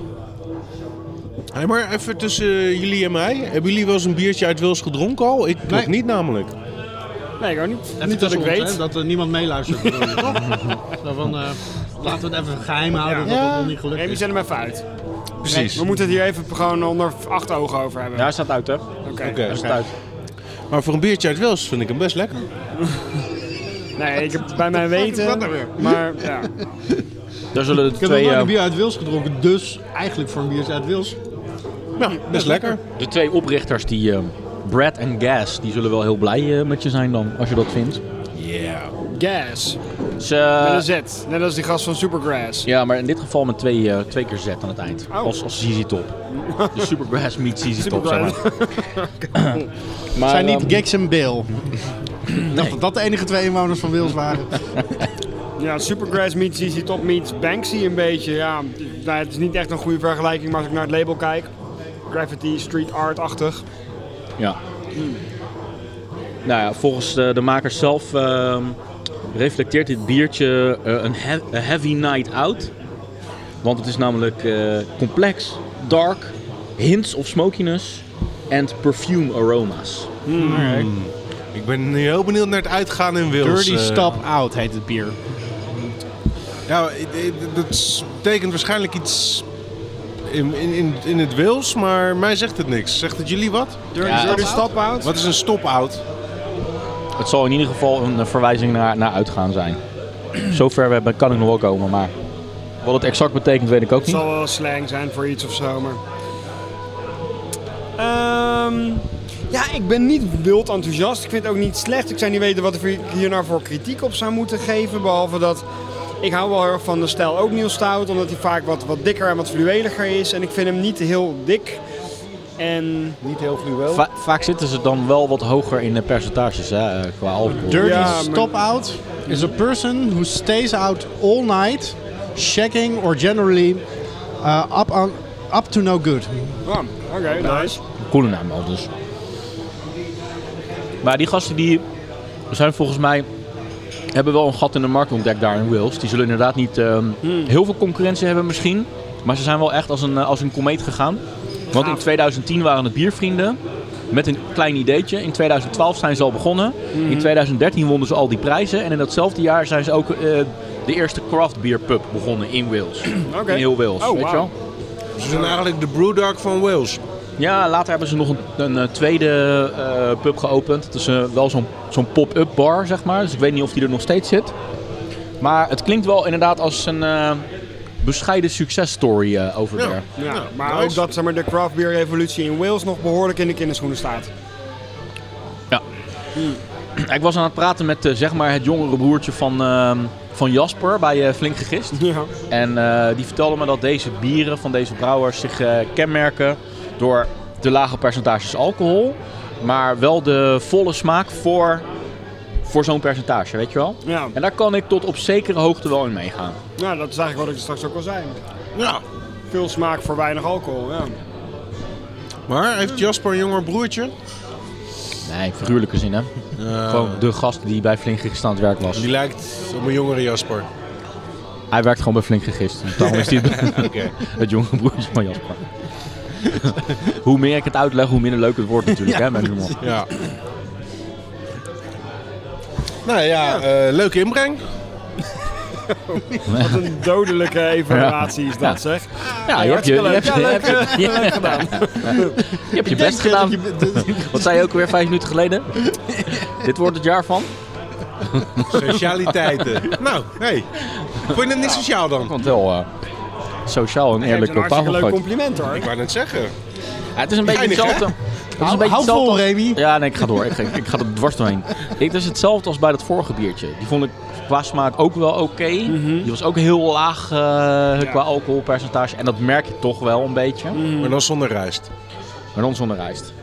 Speaker 3: Hey, maar even tussen eh, jullie en mij. Hebben jullie wel eens een biertje uit Wils gedronken al? Ik nog
Speaker 2: Nee.
Speaker 3: niet namelijk.
Speaker 5: Nee, ik ook niet.
Speaker 2: Even
Speaker 5: niet dat ik
Speaker 2: tussen ons,
Speaker 5: weet.
Speaker 2: hè, dat er niemand
Speaker 5: <laughs>
Speaker 2: meeluistert. <laughs> bedoel je, toch? Zo van, eh, laten we het even geheim houden dat het nog niet gelukt
Speaker 5: Remy,
Speaker 2: is.
Speaker 5: zet hem even uit.
Speaker 3: Precies.
Speaker 5: We moeten het hier even gewoon onder acht ogen over hebben.
Speaker 1: ja, hij staat uit hè?
Speaker 5: Oké.
Speaker 3: Oké.
Speaker 1: Hij staat uit.
Speaker 3: Maar voor een biertje uit Wils vind ik hem best lekker.
Speaker 5: Nee, ik heb bij mijn weten. Maar ja.
Speaker 1: Daar zullen de
Speaker 2: Ik heb nog
Speaker 1: twee,
Speaker 2: nooit een
Speaker 1: ehm,
Speaker 2: bier uit Wils gedronken, dus eigenlijk voor een bier uit Wils.
Speaker 3: Ja, best lekker.
Speaker 1: de twee oprichters, die ehm Brad en Gas, die zullen wel heel blij eh, met je zijn dan, als je dat vindt.
Speaker 3: Yeah.
Speaker 5: Gas.
Speaker 1: Ze,
Speaker 5: Met een Z. Net als die gast van Supergrass.
Speaker 1: ja, maar in dit geval met twee, eh, twee keer Z aan het eind.
Speaker 5: Oh.
Speaker 1: Als, als ZZ Top. Dus Supergrass meets ZZ Top, zeg maar. maar
Speaker 2: zijn niet
Speaker 1: ehm,
Speaker 2: Gags en
Speaker 5: <laughs>
Speaker 2: Bill. Ik dacht dat dat de enige twee inwoners van Wils waren.
Speaker 5: Ja, Supergrass meets ZZ Top meets Banksy een beetje. Ja, nou, het is niet echt een goede vergelijking, maar als ik naar het label kijk. Graffiti, street art-achtig.
Speaker 1: Ja. Nou ja, volgens de, de makers zelf ehm, reflecteert dit biertje eh, een he- een heavy night out. Want het is namelijk eh, complex, dark, hints of smokiness en perfume aroma's.
Speaker 3: Ik ben nu heel benieuwd naar het uitgaan in Wils.
Speaker 2: Dirty
Speaker 3: eh.
Speaker 2: Stop Out heet het bier.
Speaker 3: Ja, i- i- dat betekent waarschijnlijk iets in, in, in, in het Wils, maar mij zegt het niks. Zegt het jullie wat?
Speaker 1: Ja.
Speaker 5: Dirty Stop Out.
Speaker 3: Wat is een stop-out?
Speaker 1: Het zal in ieder geval een eh, verwijzing naar, naar uitgaan zijn. <clears throat> Zover we hebben, kan ik nog wel komen, maar wat het exact betekent weet ik ook
Speaker 5: Het
Speaker 1: niet.
Speaker 5: zal wel slang zijn voor iets of zo, maar... Ehm, ja, ik ben niet wild enthousiast. Ik vind het ook niet slecht. Ik zou niet weten wat ik hier nou voor kritiek op zou moeten geven. Behalve dat ik hou wel heel erg van de stijl ook Neil Stout. Omdat hij vaak wat, wat dikker en wat fluweliger is. En ik vind hem niet heel dik. En
Speaker 7: Niet heel fluweel.
Speaker 1: Va- vaak zitten ze dan wel wat hoger in de percentages hè, eh, qua alcohol.
Speaker 2: Dirty
Speaker 5: Ja, maar-
Speaker 2: Stop Out is a person who stays out all night, shaking or generally uh, up, on, up to no good.
Speaker 5: Oh, oké, nice.
Speaker 1: Coole naam al dus. Maar die gasten die zijn volgens mij... hebben wel een gat in de markt ontdekt daar in Wales. Die zullen inderdaad niet ehm,
Speaker 5: Hmm.
Speaker 1: heel veel concurrentie hebben misschien. Maar ze zijn wel echt als een, eh, als een komeet gegaan. Want in 2010 waren het biervrienden. Met een klein ideetje. In 2012 zijn ze al begonnen.
Speaker 5: Hmm.
Speaker 1: In 2013 wonnen ze al die prijzen. En in datzelfde jaar zijn ze ook eh, de eerste craft beer pub begonnen in Wales.
Speaker 5: <clears throat> Oké.
Speaker 1: In heel Wales,
Speaker 5: Oh,
Speaker 1: weet je
Speaker 5: wauw.
Speaker 1: wel.
Speaker 3: Ze zijn eigenlijk de brewdog van Wales.
Speaker 1: Ja, later hebben ze nog een, een eh, tweede eh, pub geopend. Het is eh, wel zo'n zo'n pop-up bar, zeg maar. Dus ik weet niet of die er nog steeds zit. Maar het klinkt wel inderdaad als een eh, bescheiden successtory eh over
Speaker 3: Ja.
Speaker 1: daar.
Speaker 5: Ja,
Speaker 3: Ja,
Speaker 5: maar
Speaker 3: nice.
Speaker 5: ook dat zeg maar, de craft beer revolutie in Wales nog behoorlijk in de kinderschoenen staat.
Speaker 1: <clears throat> Ik was aan het praten met eh, zeg maar het jongere broertje van, ehm, van Jasper bij eh, Flink Gegist.
Speaker 5: Ja.
Speaker 1: En eh, die vertelde me dat deze bieren van deze brouwers zich eh, kenmerken door de lage percentages alcohol. Maar wel de volle smaak voor, voor zo'n percentage, weet je wel?
Speaker 5: Ja.
Speaker 1: En daar kan ik tot op zekere hoogte wel in meegaan.
Speaker 5: Nou, dat is eigenlijk wat ik straks ook al zei.
Speaker 3: Ja.
Speaker 5: Veel smaak voor weinig alcohol, ja.
Speaker 3: Maar heeft Jasper een jonger broertje?
Speaker 1: Nee, figuurlijke zin hè. Gewoon de gast die bij Flink Gist aan het werk was.
Speaker 3: Die lijkt op een jongere Jasper.
Speaker 1: Hij werkt gewoon bij Flink Gist.
Speaker 3: <laughs>
Speaker 1: Dus daarom is hij <laughs> het, het jonge broertje van Jasper. hoe meer ik het uitleg, hoe minder leuk het wordt natuurlijk hè, met humor.
Speaker 3: Ja. <clears throat> nou ja, eh, leuke inbreng.
Speaker 5: Wat een dodelijke evaluatie is dat,
Speaker 1: Ja.
Speaker 5: zeg.
Speaker 1: Ja, je hebt je, je,
Speaker 5: hartstikke
Speaker 1: hebt je,
Speaker 5: leuk.
Speaker 1: heb je, gedaan. <laughs> Je hebt je best gedaan. Wat zei je ook weer vijf minuten geleden? <laughs> Dit wordt het jaar van?
Speaker 3: Socialiteiten. <laughs> nou, hey. Vond je het niet sociaal dan?
Speaker 1: Want wel eh, sociaal en
Speaker 5: Geeft
Speaker 1: eerlijk
Speaker 5: een
Speaker 1: op
Speaker 5: hartstikke
Speaker 1: tafel
Speaker 5: leuk
Speaker 1: gegooid.
Speaker 5: compliment, hoor.
Speaker 3: Ik wou net zeggen.
Speaker 1: Ja, het is een beetje
Speaker 3: Geinig, hè?
Speaker 1: hetzelfde. Het is een
Speaker 2: Hou,
Speaker 1: beetje
Speaker 2: hou vol,
Speaker 1: hetzelfde.
Speaker 2: Remy.
Speaker 1: Ja, nee, ik ga door. Ik, ga- ik ga er dwars doorheen. Ik, het is hetzelfde als bij dat vorige biertje. Die vond ik qua smaak ook wel oké. Die was ook heel laag eh, qua alcoholpercentage. En dat merk je toch wel een beetje.
Speaker 3: Maar dan zonder rijst.
Speaker 1: Maar dan zonder rijst.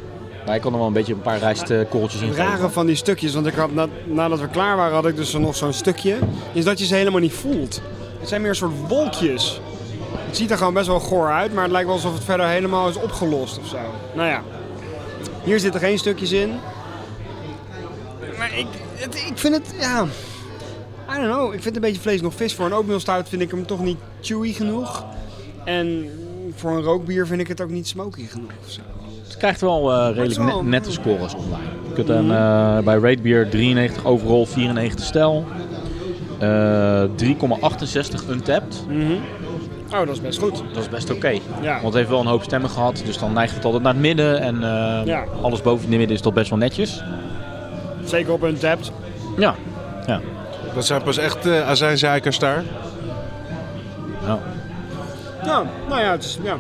Speaker 1: Maar ik kon er wel een beetje een paar rijstkorreltjes in
Speaker 5: Het
Speaker 1: geven.
Speaker 5: rare van die stukjes, want ik had na- nadat we klaar waren, had ik dus nog zo'n stukje, is dat je ze helemaal niet voelt. Het zijn meer een soort wolkjes. Het ziet er gewoon best wel goor uit, maar het lijkt wel alsof het verder helemaal is opgelost of zo. Nou ja, hier zitten geen stukjes in. Maar ik, het- ik vind het, ja, I don't know, ik vind het een beetje vlees nog vis. Voor een oatmealstout vind ik hem toch niet chewy genoeg. En voor een rookbier vind ik het ook niet smoky genoeg of zo.
Speaker 1: Het krijgt wel eh, redelijk
Speaker 5: Het is wel-
Speaker 1: net- nette scores online. Je kunt dan eh, bij Ratebeer 93 overall, 94 stijl. Eh, 3,68 untapped.
Speaker 5: Oh, dat is best goed.
Speaker 1: Dat is best oké.
Speaker 5: Mm. Ja.
Speaker 1: Want het heeft wel een hoop stemmen gehad. Dus dan neigt het altijd naar het midden. En eh,
Speaker 5: Ja.
Speaker 1: alles boven het midden is toch best wel netjes.
Speaker 5: Zeker op een tapped.
Speaker 1: Ja.
Speaker 3: Dat zijn pas echt eh azijnzeikers daar.
Speaker 1: Nou,
Speaker 5: Ja, nou ja, het is, ja.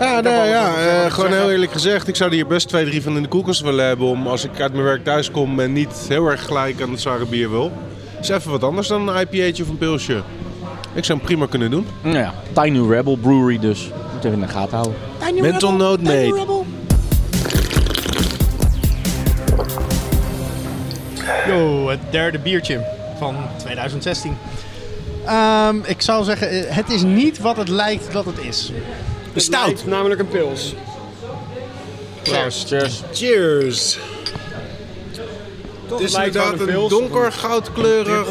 Speaker 3: Ja,
Speaker 5: heb
Speaker 3: nou
Speaker 5: al
Speaker 3: ja,
Speaker 5: wat ik wilde
Speaker 3: eh, gewoon
Speaker 5: zeggen.
Speaker 3: heel eerlijk gezegd. Ik zou hier best twee, drie van in de koelkast willen hebben. Om als ik uit mijn werk thuis kom en niet heel erg gelijk aan het zware bier wil. Is even wat anders dan een IPA'tje of een pilsje. Ik zou hem prima kunnen doen.
Speaker 1: Nou ja, Tiny Rebel Brewery dus. Moet even in de gaten houden.
Speaker 3: Mental note made.
Speaker 2: Yo, het derde biertje van 2016. Ehm, ik zou zeggen, eh, het is niet wat het lijkt dat het is.
Speaker 5: Stout. Namelijk een pils.
Speaker 1: Cheers.
Speaker 3: Cheers. Het is
Speaker 5: lijkt wel
Speaker 3: inderdaad
Speaker 5: een
Speaker 3: een
Speaker 5: pils.
Speaker 3: donker goudkleurig.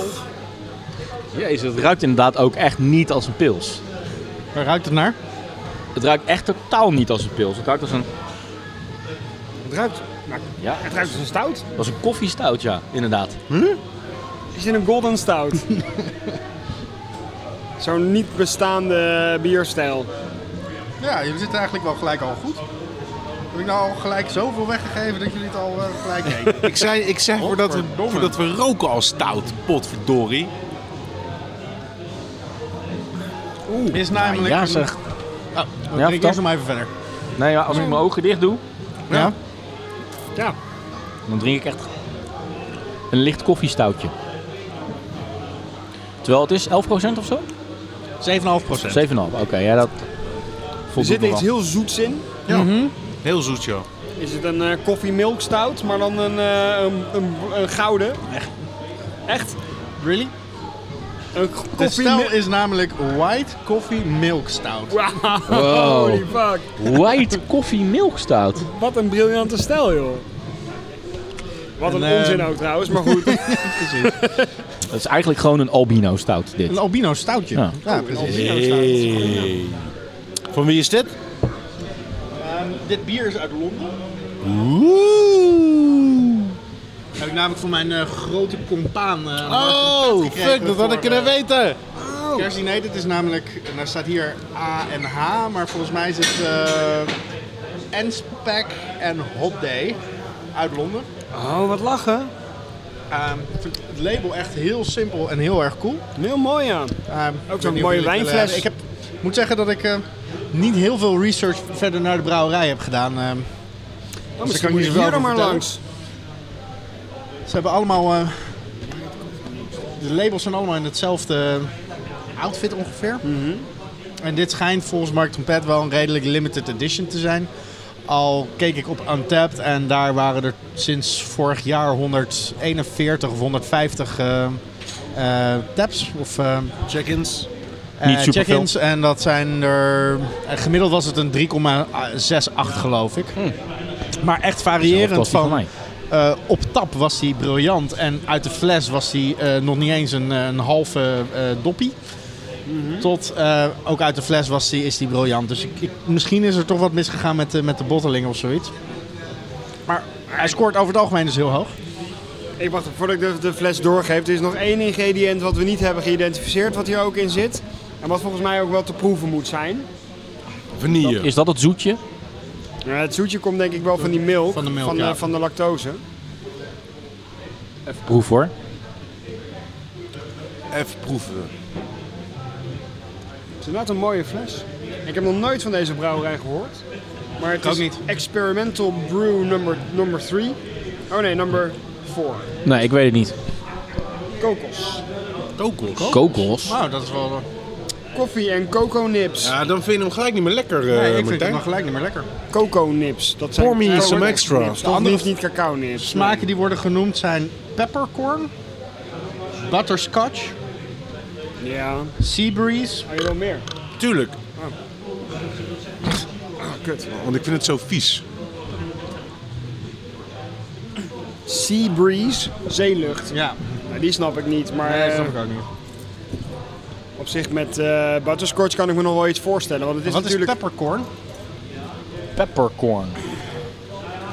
Speaker 1: Jezus, het ruikt inderdaad ook echt niet als een pils.
Speaker 2: Waar ruikt het naar?
Speaker 1: Het ruikt echt totaal niet als een pils. Het ruikt als een,
Speaker 5: Het ruikt,
Speaker 1: ja,
Speaker 5: het ruikt als een stout.
Speaker 1: als een koffiestout, ja, inderdaad.
Speaker 5: Is in een golden stout.
Speaker 2: <laughs>
Speaker 5: Zo'n niet bestaande bierstijl.
Speaker 2: Ja, jullie zitten eigenlijk wel gelijk al goed. Heb ik nou al gelijk zoveel weggegeven dat jullie het al eh, <laughs> gelijk weten?
Speaker 3: Ik zei, ik zei voordat, we,
Speaker 2: Godverdomme.
Speaker 3: voordat we roken al stout, potverdorie.
Speaker 2: is namelijk...
Speaker 1: Ja, zeg.
Speaker 2: een-
Speaker 5: Oh,
Speaker 1: Ja,
Speaker 2: drink
Speaker 1: vertel.
Speaker 2: eerst nog maar even verder.
Speaker 1: Nee, ja, als ik mijn ogen dicht doe,
Speaker 2: Ja?
Speaker 5: Oh. Ja.
Speaker 1: dan drink ik echt een licht koffiestautje. Terwijl het is 11% of zo?
Speaker 2: 7,5 procent.
Speaker 1: 7,5. Oké, ja, dat
Speaker 5: Er
Speaker 1: voldoet
Speaker 5: zit
Speaker 1: me
Speaker 5: iets
Speaker 1: wel.
Speaker 5: heel zoets in.
Speaker 3: Heel zoet, joh.
Speaker 5: Is het een eh koffie milk stout, maar dan een, eh, een, een, een gouden? Echt? Echt?
Speaker 2: Really?
Speaker 5: Een
Speaker 2: De
Speaker 5: koffie
Speaker 2: stijl
Speaker 5: milk...
Speaker 2: is namelijk White Coffee Milk Stout.
Speaker 5: Wow, <laughs>
Speaker 1: Wow.
Speaker 5: holy fuck.
Speaker 1: White coffee milk stout.
Speaker 5: Wat een briljante stijl, joh. Wat een
Speaker 2: En, eh,
Speaker 5: onzin ook trouwens, maar goed.
Speaker 1: Dat is eigenlijk gewoon een albino stout,
Speaker 2: Een
Speaker 1: dit.
Speaker 2: albino stoutje.
Speaker 1: Ja.
Speaker 2: precies.
Speaker 3: Van wie is dit?
Speaker 2: dit bier is uit Londen. Heb ik namelijk voor mijn eh, grote compaan. eh,
Speaker 3: Oh,
Speaker 2: gekregen
Speaker 3: fuck, dat had ik
Speaker 2: voor,
Speaker 3: kunnen
Speaker 2: eh,
Speaker 3: weten.
Speaker 2: Kerstdiner, dit is namelijk, en daar staat hier A en H, maar volgens mij is het eh Enspec en Hot Day uit Londen.
Speaker 5: Oh, wat lachen.
Speaker 2: Ehm, ik vind het label echt heel simpel en heel erg cool.
Speaker 5: Heel mooi, Oh, ja.
Speaker 2: Ehm, ik weet niet of
Speaker 5: zo'n
Speaker 2: jullie
Speaker 5: mooie
Speaker 2: het willen
Speaker 5: wijnfles.
Speaker 2: hebben. Ik heb, moet zeggen dat ik eh, niet heel veel research verder naar de brouwerij heb gedaan. ehm.
Speaker 5: Oh,
Speaker 2: Dus
Speaker 5: misschien
Speaker 2: dan kan
Speaker 5: moet
Speaker 2: je
Speaker 5: je
Speaker 2: er wel
Speaker 5: hier dan maar
Speaker 2: over vertellen.
Speaker 5: langs.
Speaker 2: Ze hebben allemaal. eh, de labels zijn allemaal in hetzelfde eh, outfit ongeveer. En dit schijnt volgens Mark Trompet wel een redelijk limited edition te zijn. Al keek ik op Untapped en daar waren er sinds vorig jaar 141 of 150 eh, eh, taps. Of, eh,
Speaker 3: Check-ins.
Speaker 2: eh,
Speaker 1: Niet superveel.
Speaker 2: check-ins. En dat zijn er. eh, gemiddeld was het een 3,68 geloof ik.
Speaker 1: Hm.
Speaker 2: Maar echt
Speaker 1: Zelfde
Speaker 2: variërend
Speaker 1: als die van mij.
Speaker 2: eh, op tap was hij briljant en uit de fles was hij eh, nog niet eens een, een halve eh doppie. Tot eh, ook uit de fles was die, is hij briljant. Dus ik, ik- misschien is er toch wat misgegaan met, de- met de bottling of zoiets. Maar hij scoort over het algemeen dus heel hoog.
Speaker 5: Ik wacht, voordat ik de, de fles doorgeef, er is nog één ingrediënt wat we niet hebben geïdentificeerd, wat hier ook in zit. En wat volgens mij ook wel te proeven moet zijn.
Speaker 3: Vanille.
Speaker 1: Is dat het zoetje?
Speaker 5: Eh, het zoetje komt denk ik wel van die milk,
Speaker 2: Van de milk,
Speaker 5: van, de,
Speaker 2: ja.
Speaker 5: van de lactose.
Speaker 1: Even proef hoor.
Speaker 3: Even proeven.
Speaker 5: Het is inderdaad een mooie fles. Ik heb nog nooit van deze brouwerij gehoord. Maar het
Speaker 2: ook
Speaker 5: is
Speaker 2: niet.
Speaker 5: Experimental Brew number, number 3. Oh nee, number 4.
Speaker 1: Nee, ik weet het niet.
Speaker 5: Kokos.
Speaker 3: Kokos.
Speaker 1: Kokos?
Speaker 2: Nou, dat is
Speaker 5: Eh,
Speaker 2: wel.
Speaker 5: Koffie en coco nips.
Speaker 3: Ja, dan vind je hem gelijk niet meer lekker, eh
Speaker 2: nee, ik vind het
Speaker 3: Martijn.
Speaker 2: nog gelijk niet meer lekker.
Speaker 5: Coco nips. Dat zijn
Speaker 3: Pour me
Speaker 5: coco
Speaker 3: some
Speaker 5: nips.
Speaker 3: extra.
Speaker 5: De andere is niet cacao nips.
Speaker 2: Smaken die worden genoemd zijn peppercorn, butterscotch,
Speaker 5: Nee. Ja.
Speaker 2: sea breeze.
Speaker 5: Hou je wel meer?
Speaker 3: Tuurlijk,
Speaker 5: Kut.
Speaker 3: Ah, want ik vind het zo vies.
Speaker 5: Sea breeze. Zeelucht.
Speaker 2: Ja,
Speaker 5: Nou, die snap ik niet, maar
Speaker 2: nee, dat
Speaker 5: eh,
Speaker 2: snap ik ook niet.
Speaker 5: op zich met eh butterscotch kan ik me nog wel iets voorstellen. Want het is
Speaker 2: Wat is
Speaker 5: natuurlijk...
Speaker 2: peppercorn?
Speaker 1: Peppercorn.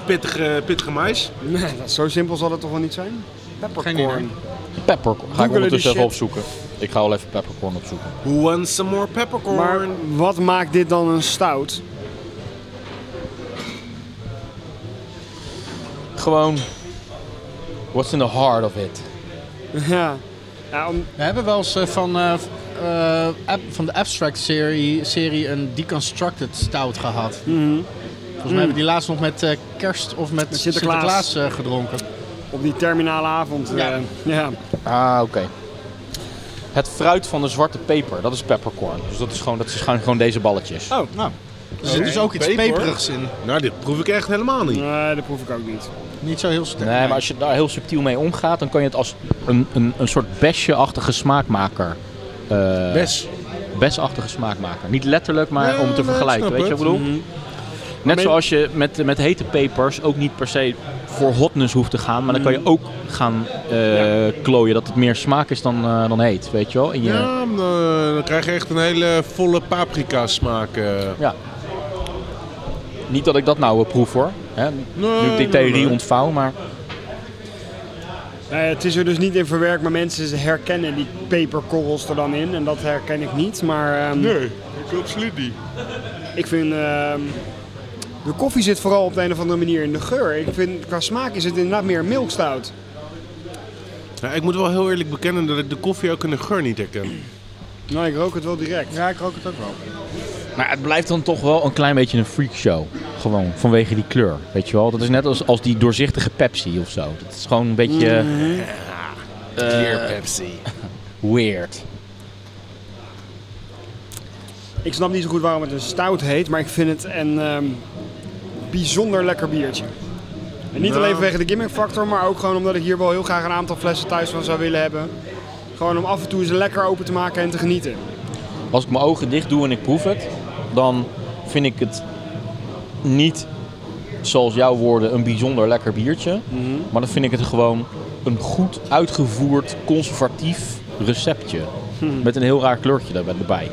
Speaker 3: Pittige, pittige mais.
Speaker 5: <laughs> Nee, dat- Nou, zo simpel zal het toch wel niet zijn? Peppercorn.
Speaker 2: idee.
Speaker 1: Peppercorn. Ga ik
Speaker 5: die
Speaker 1: ondertussen even
Speaker 5: shit.
Speaker 1: opzoeken. Ik ga wel even peppercorn opzoeken.
Speaker 3: Who wants some more peppercorn?
Speaker 5: Maar wat maakt dit dan een stout? <laughs>
Speaker 1: Gewoon... What's in the heart of it?
Speaker 5: Ja. Ja, om,
Speaker 2: We hebben wel eens eh, van, eh, v- eh, ab- van de Abstract serie, serie een deconstructed stout gehad. Volgens mij hebben we die laatst nog met eh, kerst of met,
Speaker 5: Mhm. Met Sinterklaas.
Speaker 2: Sinterklaas, eh, gedronken.
Speaker 5: op die terminale avond. eh, Ja.
Speaker 1: Ah, oké. Het fruit van de zwarte peper, dat is peppercorn. Dus dat, is gewoon, dat zijn gewoon deze balletjes.
Speaker 2: Oh, nou. Er zit dus ook iets
Speaker 3: Peper.
Speaker 2: peperigs in.
Speaker 3: Nou, dit proef ik echt helemaal niet.
Speaker 5: Nee, dat proef ik ook niet.
Speaker 2: Niet zo heel sterk.
Speaker 1: Nee, maar als je daar heel subtiel mee omgaat, dan kan je het als een, een, een soort besje-achtige smaakmaker. eh,
Speaker 3: Bes.
Speaker 1: besachtige smaakmaker. Niet letterlijk, maar
Speaker 3: Ja,
Speaker 1: om te
Speaker 3: nee,
Speaker 1: vergelijken.
Speaker 3: ik
Speaker 1: Weet
Speaker 3: snap Mhm.
Speaker 1: je wat ik bedoel? Net zoals je met, met hete pepers ook niet per se voor hotness hoeft te gaan. Maar dan kan
Speaker 3: Mhm.
Speaker 1: je ook gaan eh, klooien dat het meer smaak is dan, eh, dan heet. Weet je wel? In je,
Speaker 3: Ja, dan, eh, dan krijg je echt een hele volle paprika smaak. eh.
Speaker 1: Niet dat ik dat nou eh, proef hoor. Hè? nu ik
Speaker 3: nee,
Speaker 1: die theorie
Speaker 3: nee.
Speaker 1: ontvouw, maar...
Speaker 5: Nee, het is er dus niet in verwerkt, maar mensen herkennen die peperkorrels er dan in. En dat herken ik niet. Maar ehm,
Speaker 3: Nee, ik absoluut niet.
Speaker 5: ik vind. ehm, de koffie zit vooral op de een of andere manier in de geur. Ik vind, qua smaak is het inderdaad meer milkstout.
Speaker 3: Nou, ik moet wel heel eerlijk bekennen dat ik de koffie ook in de geur niet herken.
Speaker 5: Nou, ik rook het wel direct.
Speaker 2: Ja, ik rook het ook wel.
Speaker 1: Maar het blijft dan toch wel een klein beetje een freakshow. Gewoon, vanwege die kleur. Weet je wel? Dat is net als, als die doorzichtige Pepsi of zo. Dat is gewoon een beetje... Mhm. Clear Pepsi. <laughs> Weird.
Speaker 5: Ik snap niet zo goed waarom het een stout heet, maar ik vind het een ehm, bijzonder lekker biertje. En niet alleen vanwege de gimmick factor, maar ook gewoon omdat ik hier wel heel graag een aantal flessen thuis van zou willen hebben. Gewoon om af en toe ze lekker open te maken en te genieten.
Speaker 1: Als ik mijn ogen dicht doe en ik proef het, dan vind ik het niet, zoals jouw woorden, een bijzonder lekker biertje. Maar dan vind ik het gewoon een goed uitgevoerd, conservatief receptje. Met een heel raar kleurtje daarbij- erbij.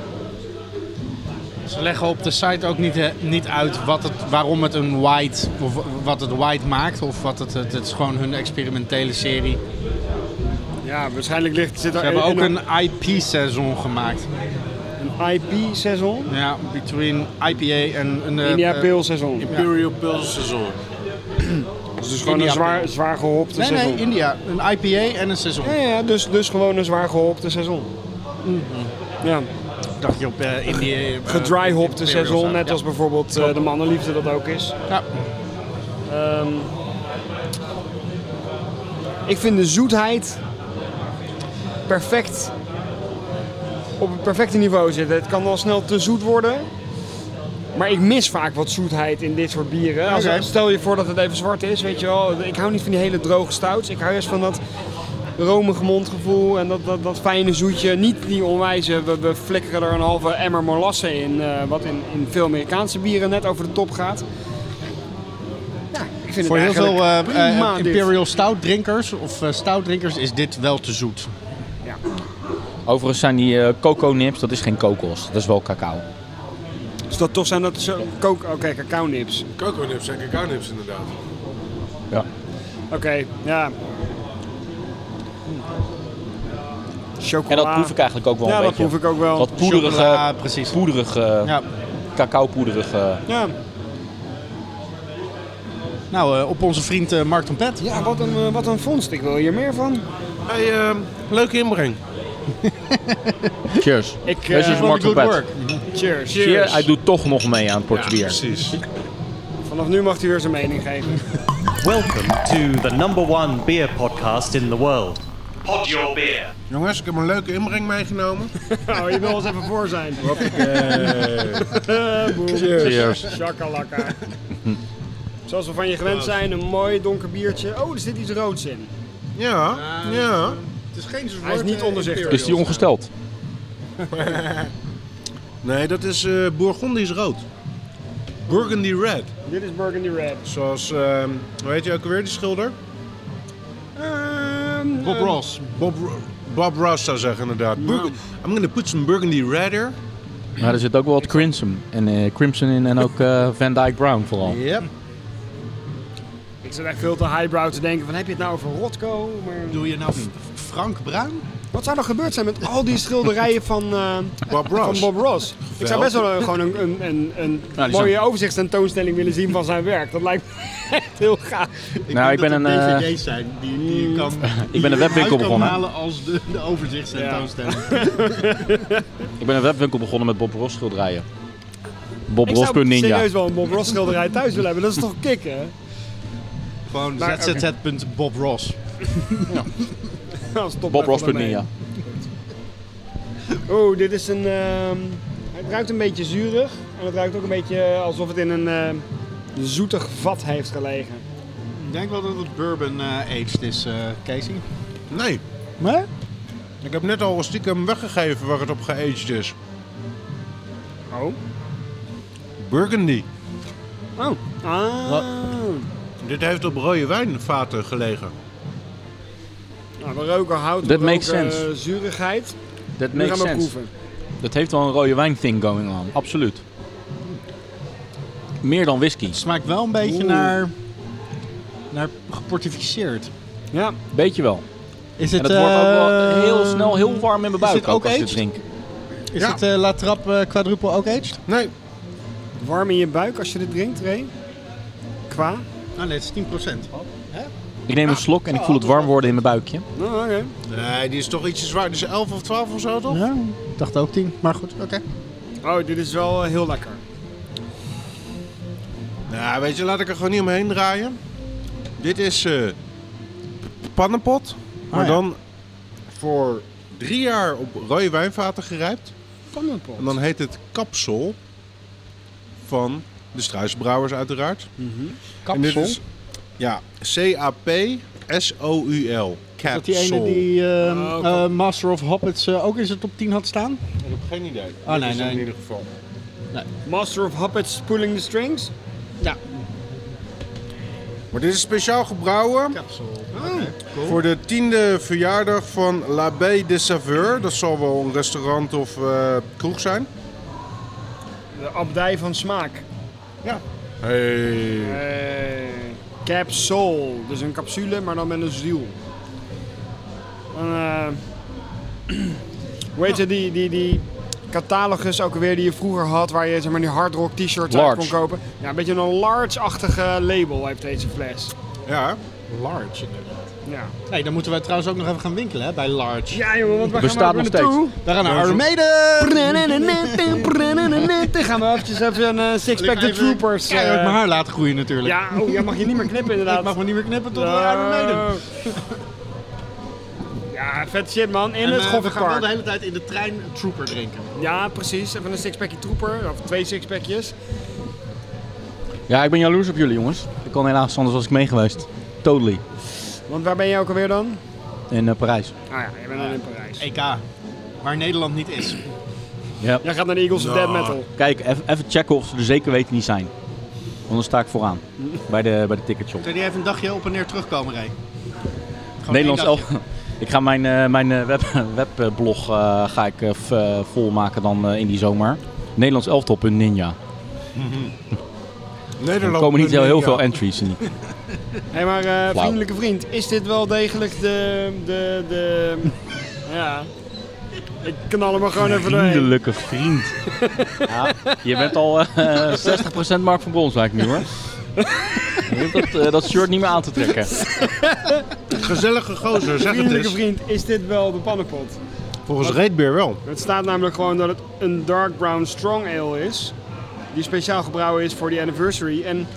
Speaker 2: Ze leggen op de site ook niet, eh, niet uit wat het, waarom het een white, of wat het white maakt. Of wat het, het, het is gewoon hun experimentele serie.
Speaker 5: Ja, waarschijnlijk ligt, zit
Speaker 2: Ze
Speaker 5: daar
Speaker 2: hebben ook
Speaker 5: Eh, in
Speaker 2: een IP-seizoen gemaakt.
Speaker 5: een IP-seizoen.
Speaker 2: Ja, between IPA en... en eh,
Speaker 5: India
Speaker 2: eh,
Speaker 5: Pale seizoen.
Speaker 3: Imperial Pale Saison.
Speaker 5: Dus het is gewoon
Speaker 2: India
Speaker 5: een zwaar, zwaar gehopte
Speaker 2: Nee,
Speaker 5: seizoen.
Speaker 2: nee, India. Een IPA en een seizoen.
Speaker 5: ja, ja, dus, dus gewoon een zwaar gehopte seizoen. Mhm. Ja,
Speaker 2: dacht je op eh, India... eh,
Speaker 5: gedryhopte
Speaker 2: Imperial
Speaker 5: seizoen,
Speaker 2: zou-
Speaker 5: net
Speaker 2: ja.
Speaker 5: als bijvoorbeeld eh, de mannenliefde dat ook is.
Speaker 2: Ja.
Speaker 5: Ehm, ik vind de zoetheid perfect op het perfecte niveau zitten. Het kan wel snel te zoet worden. Maar ik mis vaak wat zoetheid in dit soort bieren. Als-
Speaker 2: Oké.
Speaker 5: stel je voor dat het even zwart is, weet je wel. Ik hou niet van die hele droge stouts. Ik hou juist van dat romig mondgevoel en dat, dat, dat fijne zoetje. Niet die onwijze, we, we flikkeren er een halve emmer molassen in. eh, wat in, in veel Amerikaanse bieren net over de top gaat. Ja, ik vind
Speaker 2: Voor
Speaker 5: het
Speaker 2: heel veel eh,
Speaker 5: eigenlijk
Speaker 2: eh,
Speaker 5: prima, dit.
Speaker 2: Imperial Stout drinkers of eh, stout drinkers is dit wel te zoet.
Speaker 1: Overigens zijn die eh, coco nips, dat is geen kokos, dat is wel cacao.
Speaker 5: Dus dat toch zijn dat zo... kook- Oké, cacao nips.
Speaker 3: Coco nips en cacao nips inderdaad.
Speaker 5: Oké, ja. Hm. Chocola.
Speaker 1: En dat proef ik eigenlijk ook wel
Speaker 5: Ja,
Speaker 1: een
Speaker 5: dat
Speaker 1: beetje.
Speaker 5: proef ik ook wel.
Speaker 1: Dat poederige,
Speaker 2: Chocola, precies.
Speaker 1: poederige,
Speaker 2: Ja.
Speaker 1: cacao-poederige.
Speaker 5: Ja.
Speaker 2: Nou, eh, op onze vriend eh, Mark Tompet.
Speaker 5: ja, wat een, eh, wat een vondst. Ik wil hier meer van.
Speaker 3: Hey, eh, leuke inbreng.
Speaker 1: Cheers.
Speaker 5: Ik,
Speaker 1: This
Speaker 5: eh,
Speaker 1: is Mark
Speaker 2: good
Speaker 1: Tompet.
Speaker 2: work.
Speaker 5: cheers.
Speaker 1: Cheers. Hij doet toch nog mee aan het potje bier.
Speaker 3: precies.
Speaker 5: Vanaf nu mag hij weer zijn mening geven.
Speaker 4: Welcome to the number one beer podcast in the world. Pod Your Beer.
Speaker 3: Jongens, ik heb een leuke inbreng meegenomen.
Speaker 5: Oh, je wil ons even voor zijn.
Speaker 1: Cheers.
Speaker 5: Shakalaka. Zoals we van je gewend zijn, een mooi donker biertje. Oh, er zit iets roods in.
Speaker 3: Ja, ja.
Speaker 2: Het is geen
Speaker 5: Hij is niet onderzichtig.
Speaker 1: Is die ongesteld?
Speaker 3: Nee, dat is eh Bourgondisch rood. Burgundy red.
Speaker 5: Dit is Burgundy Red.
Speaker 3: Zoals, ehm, hoe heet je ook alweer, die schilder?
Speaker 5: Ehm,
Speaker 2: Bob Ross.
Speaker 3: Bob, Bob Ross zou zeggen inderdaad. Burg- I'm gonna put some Burgundy red here.
Speaker 1: Maar er zit ook wel wat Crimson, en, eh, Crimson in en ook eh, Van Dyke Brown vooral.
Speaker 2: Yep.
Speaker 5: Ik zit echt veel te highbrow te denken van heb je het nou over Rotko? Maar...
Speaker 2: Doe je nou F- Frank Bruin?
Speaker 5: Wat zou er gebeurd zijn met al die schilderijen van, eh,
Speaker 3: Bob
Speaker 5: van
Speaker 3: Ross.
Speaker 5: Bob Ross? Ik zou best wel eh, gewoon een, een, een, een mooie overzichtstentoonstelling willen zien van zijn werk. Dat lijkt me <laughs> echt heel gaaf.
Speaker 2: Ik
Speaker 1: Nou, ik ben
Speaker 2: dat er
Speaker 1: een, eh,
Speaker 2: DVD's zijn die, die
Speaker 1: <laughs>
Speaker 2: je kan, die
Speaker 1: ben een
Speaker 2: je
Speaker 1: webwinkel
Speaker 2: uit kan
Speaker 1: begonnen.
Speaker 2: halen als de, de overzichtstentoonstelling. <laughs>
Speaker 1: Ik ben een webwinkel begonnen met Bob Ross schilderijen. Bob
Speaker 5: Ik zou
Speaker 1: Ross.ninja.
Speaker 5: <laughs> serieus wel een Bob Ross schilderij thuis willen hebben. Dat is toch kicken?
Speaker 2: Gewoon
Speaker 5: Maar, oké.
Speaker 2: zzz.bobross.
Speaker 5: Als top
Speaker 1: Bob Ross
Speaker 5: level ermee.
Speaker 1: ja.
Speaker 5: Oeh, dit is een... ehm, het ruikt een beetje zuurig. En het ruikt ook een beetje alsof het in een ehm, zoetig vat heeft gelegen.
Speaker 2: Ik denk wel dat het bourbon eh, aged is, eh Casey.
Speaker 3: Nee.
Speaker 2: Maar?
Speaker 3: Ik heb net al stiekem weggegeven waar het op geaged is.
Speaker 5: Oh?
Speaker 3: Burgundy.
Speaker 5: Oh.
Speaker 1: Wat?
Speaker 5: Ah.
Speaker 3: Dit heeft op rode wijnvaten gelegen.
Speaker 5: Nou, we roken hout,
Speaker 1: That
Speaker 5: we
Speaker 1: makes
Speaker 5: roken,
Speaker 1: sense.
Speaker 5: eh, zuurigheid.
Speaker 1: Dat
Speaker 5: Nu gaan
Speaker 1: makes
Speaker 5: we
Speaker 1: sense.
Speaker 5: proeven.
Speaker 1: Dat heeft wel een rode wijn thing going on. Absoluut. Meer dan whisky.
Speaker 2: Smaakt wel een beetje
Speaker 5: Oeh.
Speaker 2: naar, naar geportificeerd.
Speaker 5: Ja.
Speaker 1: Beetje wel.
Speaker 2: Is eh,
Speaker 1: En het wordt ook wel heel snel heel warm in mijn buik
Speaker 2: dit ook
Speaker 1: ook als je het
Speaker 2: aged?
Speaker 1: drinkt.
Speaker 2: Is
Speaker 3: Ja.
Speaker 2: het eh La Trappe eh, quadruple ook aged?
Speaker 3: Nee.
Speaker 5: Warm in je buik als je dit drinkt, Ray. Qua.
Speaker 2: Ah nee, het is 10%.
Speaker 1: Ik
Speaker 2: Ah.
Speaker 1: neem een slok en ik voel het warm worden in mijn buikje.
Speaker 5: Nou, oké.
Speaker 3: Nee, die is toch ietsje zwaar. Die is 11 of 12 of zo, toch?
Speaker 2: Ja, ik dacht ook 10, maar goed, oké.
Speaker 5: Oh, dit is wel eh, heel lekker.
Speaker 3: Nou, weet je, laat ik er gewoon niet omheen draaien. Dit is eh, pannenpot, maar
Speaker 2: Ah, ja.
Speaker 3: dan voor drie jaar op rode wijnvaten gerijpt.
Speaker 5: Pannenpot.
Speaker 3: En dan heet het kapsel van de struisbrouwers uiteraard.
Speaker 2: Mhm.
Speaker 3: En dit is, ja, C-A-P-S-O-U-L. Capsule.
Speaker 2: Dat die ene die ehm,
Speaker 5: Ah, oké.
Speaker 2: eh, Master of Hobbits eh, ook in zijn top 10 had staan?
Speaker 3: Ik heb geen idee.
Speaker 2: Oh,
Speaker 3: Dit
Speaker 2: nee,
Speaker 3: is het
Speaker 2: nee.
Speaker 3: In ieder geval.
Speaker 5: Master of Hoppets pulling the strings.
Speaker 3: Maar dit is speciaal gebrouwen Oh, voor de tiende verjaardag van L'Abbé de Saveur. Dat zal wel een restaurant of eh, kroeg zijn.
Speaker 5: De abdij van smaak.
Speaker 3: Hey.
Speaker 5: Eh capsule. Dus een capsule, maar dan met een ziel. Dan, eh, <clears throat> hoe heet je die, die, die catalogus ook weer die je vroeger had, waar je zeg maar die hard rock t-shirts uit
Speaker 1: Large.
Speaker 5: kon kopen? Ja, een beetje een large-achtige label heeft deze fles.
Speaker 3: Ja,
Speaker 2: Large inderdaad.
Speaker 5: Ja,
Speaker 2: Nee, dan moeten wij trouwens ook nog even gaan winkelen hè, bij Large.
Speaker 5: ja jongen, want we gaan
Speaker 1: Bestaat
Speaker 5: maar
Speaker 1: nog steeds.
Speaker 2: Daar gaan de Armeden!
Speaker 5: <laughs> Dan gaan we eventjes even een eh, Sixpack The Troopers. eh,
Speaker 2: Keihard mijn haar laten groeien natuurlijk.
Speaker 5: ja, oh, jij mag je niet meer knippen inderdaad.
Speaker 2: Ik mag me niet meer knippen tot de Armeden.
Speaker 5: Ja, vet shit man. In het
Speaker 2: eh, we gaan wel de
Speaker 5: Goffenpark.
Speaker 2: hele tijd in de trein Trooper drinken.
Speaker 5: Ja, precies. Even een sixpackje trooper. Of twee sixpackjes.
Speaker 1: Ja, ik ben jaloers op jullie jongens. Ik kon helaas, anders was ik mee geweest. Totally.
Speaker 5: Want waar ben je ook alweer dan?
Speaker 1: In eh, Parijs.
Speaker 5: Ah ja, je bent dan in Parijs.
Speaker 2: EK, waar Nederland niet is.
Speaker 1: Ja.
Speaker 5: Jij gaat naar de Eagles of Dead Metal.
Speaker 1: Kijk, even even checken of ze er zeker weten niet zijn. Anders sta ik vooraan. Bij de, bij de ticketshop.
Speaker 2: Kun je even een dagje op en neer terugkomen, Ray? Gewoon
Speaker 1: Nederlands
Speaker 2: één dagje.
Speaker 1: elftal. <laughs> Ik ga mijn, eh, mijn eh, web, <laughs> webblog eh, ga ik, eh, v- eh, volmaken dan eh, in die zomer. Nederlands elftal.ninja. Er
Speaker 3: Nederland.
Speaker 1: komen niet heel, heel
Speaker 3: Ja.
Speaker 1: veel entries in.
Speaker 5: Hé, maar eh,
Speaker 1: Wauw.
Speaker 5: vriendelijke vriend, is dit wel degelijk de... de, de ja. Ik knal hem er gewoon even doorheen.
Speaker 1: Vriendelijke vriend. Ja, je bent al eh, 60% Mark van Bronswijk nu hoor. <laughs> Je hoeft dat, eh, dat shirt niet meer aan te trekken.
Speaker 3: Gezellige gozer, zeg het
Speaker 5: Vriendelijke
Speaker 3: eens.
Speaker 5: vriend, is dit wel de pannenpot?
Speaker 3: Volgens Reedbeer wel.
Speaker 5: Het staat namelijk gewoon dat het een dark brown strong ale is. Die speciaal gebrouwen is voor die anniversary. En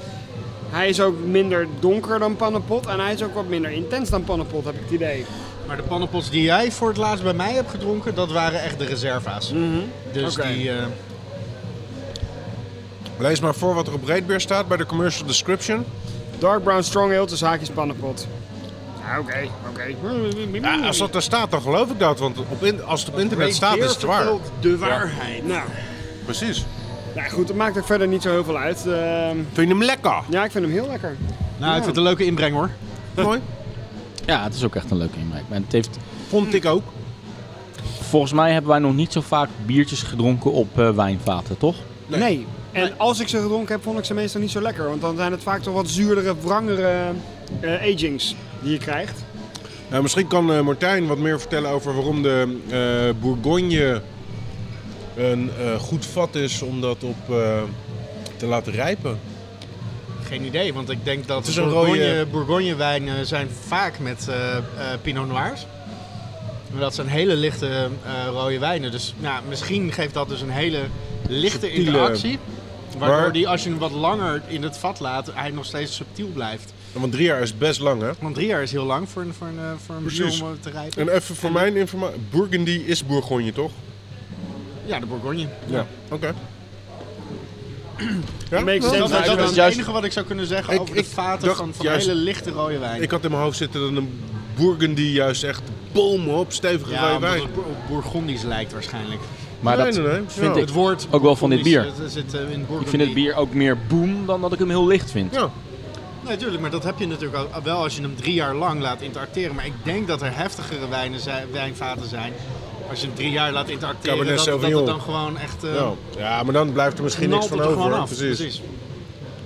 Speaker 5: hij is ook minder donker dan pannenpot. En hij is ook wat minder intens dan pannenpot, heb ik het idee.
Speaker 2: Maar de pannenpots die jij voor het laatst bij mij hebt gedronken, dat waren echt de reserva's. Dus
Speaker 5: Mhm. Oké.
Speaker 2: die... eh,
Speaker 3: Lees maar voor wat er op Reedbeer staat bij de commercial description.
Speaker 5: Dark brown strong ale, tussen haakjes pannenpot. Ja, oké, oké.
Speaker 3: Ja, als dat daar staat, dan geloof ik dat. Want op in- als het op internet
Speaker 2: Ray
Speaker 3: staat,
Speaker 2: Beer
Speaker 3: is het waar.
Speaker 2: vertelt de waarheid.
Speaker 5: Nou,
Speaker 3: Precies.
Speaker 5: nou goed, het maakt ook verder niet zo heel veel uit. Ehm,
Speaker 3: Vind je hem lekker?
Speaker 5: ja, ik vind hem heel lekker.
Speaker 2: Nou, ik vind het een leuke inbreng hoor.
Speaker 3: Mooi.
Speaker 1: Ja, het is ook echt een leuke inbreng. En het heeft,
Speaker 3: Vond ik ook.
Speaker 1: volgens mij hebben wij nog niet zo vaak biertjes gedronken op eh, wijnvaten, toch?
Speaker 5: Nee. En als ik ze gedronken heb, vond ik ze meestal niet zo lekker. Want dan zijn het vaak toch wat zuurdere, wrangere eh, agings die je krijgt.
Speaker 3: Nou, misschien kan eh, Martijn wat meer vertellen over waarom de eh, Bourgogne een eh, goed vat is om dat op eh, te laten rijpen.
Speaker 2: Geen idee, want ik denk dat
Speaker 3: Het is een
Speaker 2: Bourgogne,
Speaker 3: rode-
Speaker 2: Bourgogne wijnen zijn vaak met eh, eh, Pinot Noirs. Maar dat zijn hele lichte eh, rode wijnen. Dus nou, misschien geeft dat dus een hele lichte
Speaker 3: Subtiele.
Speaker 2: interactie. Waardoor
Speaker 3: Maar-
Speaker 2: die, als je hem wat langer in het vat laat, hij nog steeds subtiel blijft.
Speaker 3: Want drie jaar is best lang, hè?
Speaker 2: Want drie jaar is heel lang voor een, voor een, eh, voor een
Speaker 3: Precies.
Speaker 2: bier om eh, te rijpen.
Speaker 3: En even voor mijn informatie. Burgundy is Bourgogne, toch?
Speaker 2: Ja, de Bourgogne.
Speaker 3: Ja. Oké. <clears throat> Ja?
Speaker 5: Makes sense.
Speaker 2: Dat,
Speaker 5: Nou,
Speaker 2: dat
Speaker 5: ik
Speaker 2: is
Speaker 5: was
Speaker 2: het
Speaker 1: juist-
Speaker 2: enige wat ik zou kunnen zeggen
Speaker 3: Ik-
Speaker 2: over de
Speaker 3: ik
Speaker 2: vaten
Speaker 3: dacht
Speaker 2: van, van
Speaker 3: juist-
Speaker 2: hele lichte rode wijn.
Speaker 3: Ik had in mijn hoofd zitten dat een Burgundy juist echt bomen op stevige
Speaker 2: ja,
Speaker 3: rode
Speaker 2: omdat
Speaker 3: wijn.
Speaker 2: het bo- op Bourgondisch lijkt waarschijnlijk.
Speaker 1: Maar
Speaker 3: nee,
Speaker 1: dat
Speaker 3: nee, nee.
Speaker 1: vind
Speaker 3: Ja.
Speaker 1: ik
Speaker 2: Nou, Het woord
Speaker 1: ook wel van dit bier.
Speaker 2: Bourgondisch, dat zit, eh, in
Speaker 1: Ik
Speaker 2: Bourgogne.
Speaker 1: vind het bier ook meer boom dan dat ik hem heel licht vind.
Speaker 3: Ja.
Speaker 2: Nee, tuurlijk, maar dat heb je natuurlijk al- al wel als je hem drie jaar lang laat interacteren. Maar ik denk dat er heftigere wijnen zijn, wijnvaten zijn. Als je hem drie jaar laat interacteren,
Speaker 3: Cabernet
Speaker 2: dat, dat
Speaker 3: Sauvignon.
Speaker 2: het dan gewoon echt... eh
Speaker 3: Ja. ja, maar dan blijft er misschien niks
Speaker 2: knalt het
Speaker 3: van
Speaker 2: er
Speaker 3: over.
Speaker 2: gewoon
Speaker 3: hoor.
Speaker 2: af.
Speaker 3: Precies.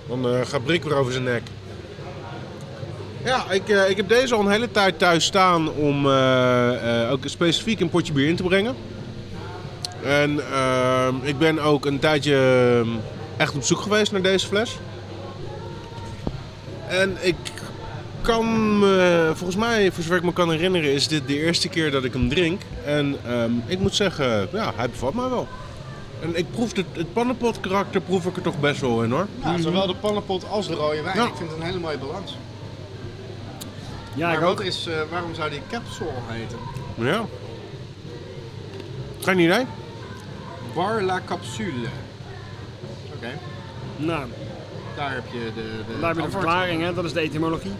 Speaker 3: Dan eh, gaat Brik weer over zijn nek. Ja, ik, eh, ik heb deze al een hele tijd thuis staan om eh, eh, ook specifiek een potje bier in te brengen. En ehm, ik ben ook een tijdje ehm, echt op zoek geweest naar deze fles. En ik kan me, volgens mij, voor zover ik me kan herinneren, is dit de eerste keer dat ik hem drink. En ehm, ik moet zeggen, ja, hij bevat mij wel. En ik proef het, het pannenpot karakter proef ik er toch best wel in hoor.
Speaker 2: Nou, zowel de pannenpot als de rode wijn.
Speaker 3: Mhm. Ja.
Speaker 2: Ik vind het een hele mooie balans.
Speaker 5: Ja, ik
Speaker 2: maar wat
Speaker 5: ook.
Speaker 2: is, eh, waarom zou die capsule heten?
Speaker 3: Ja. Geen idee.
Speaker 2: Bar la capsule. Oké,
Speaker 5: Nou,
Speaker 2: daar heb je de, de,
Speaker 5: daar heb je de
Speaker 2: antwoord.
Speaker 5: verklaring, hè? dat is de etymologie.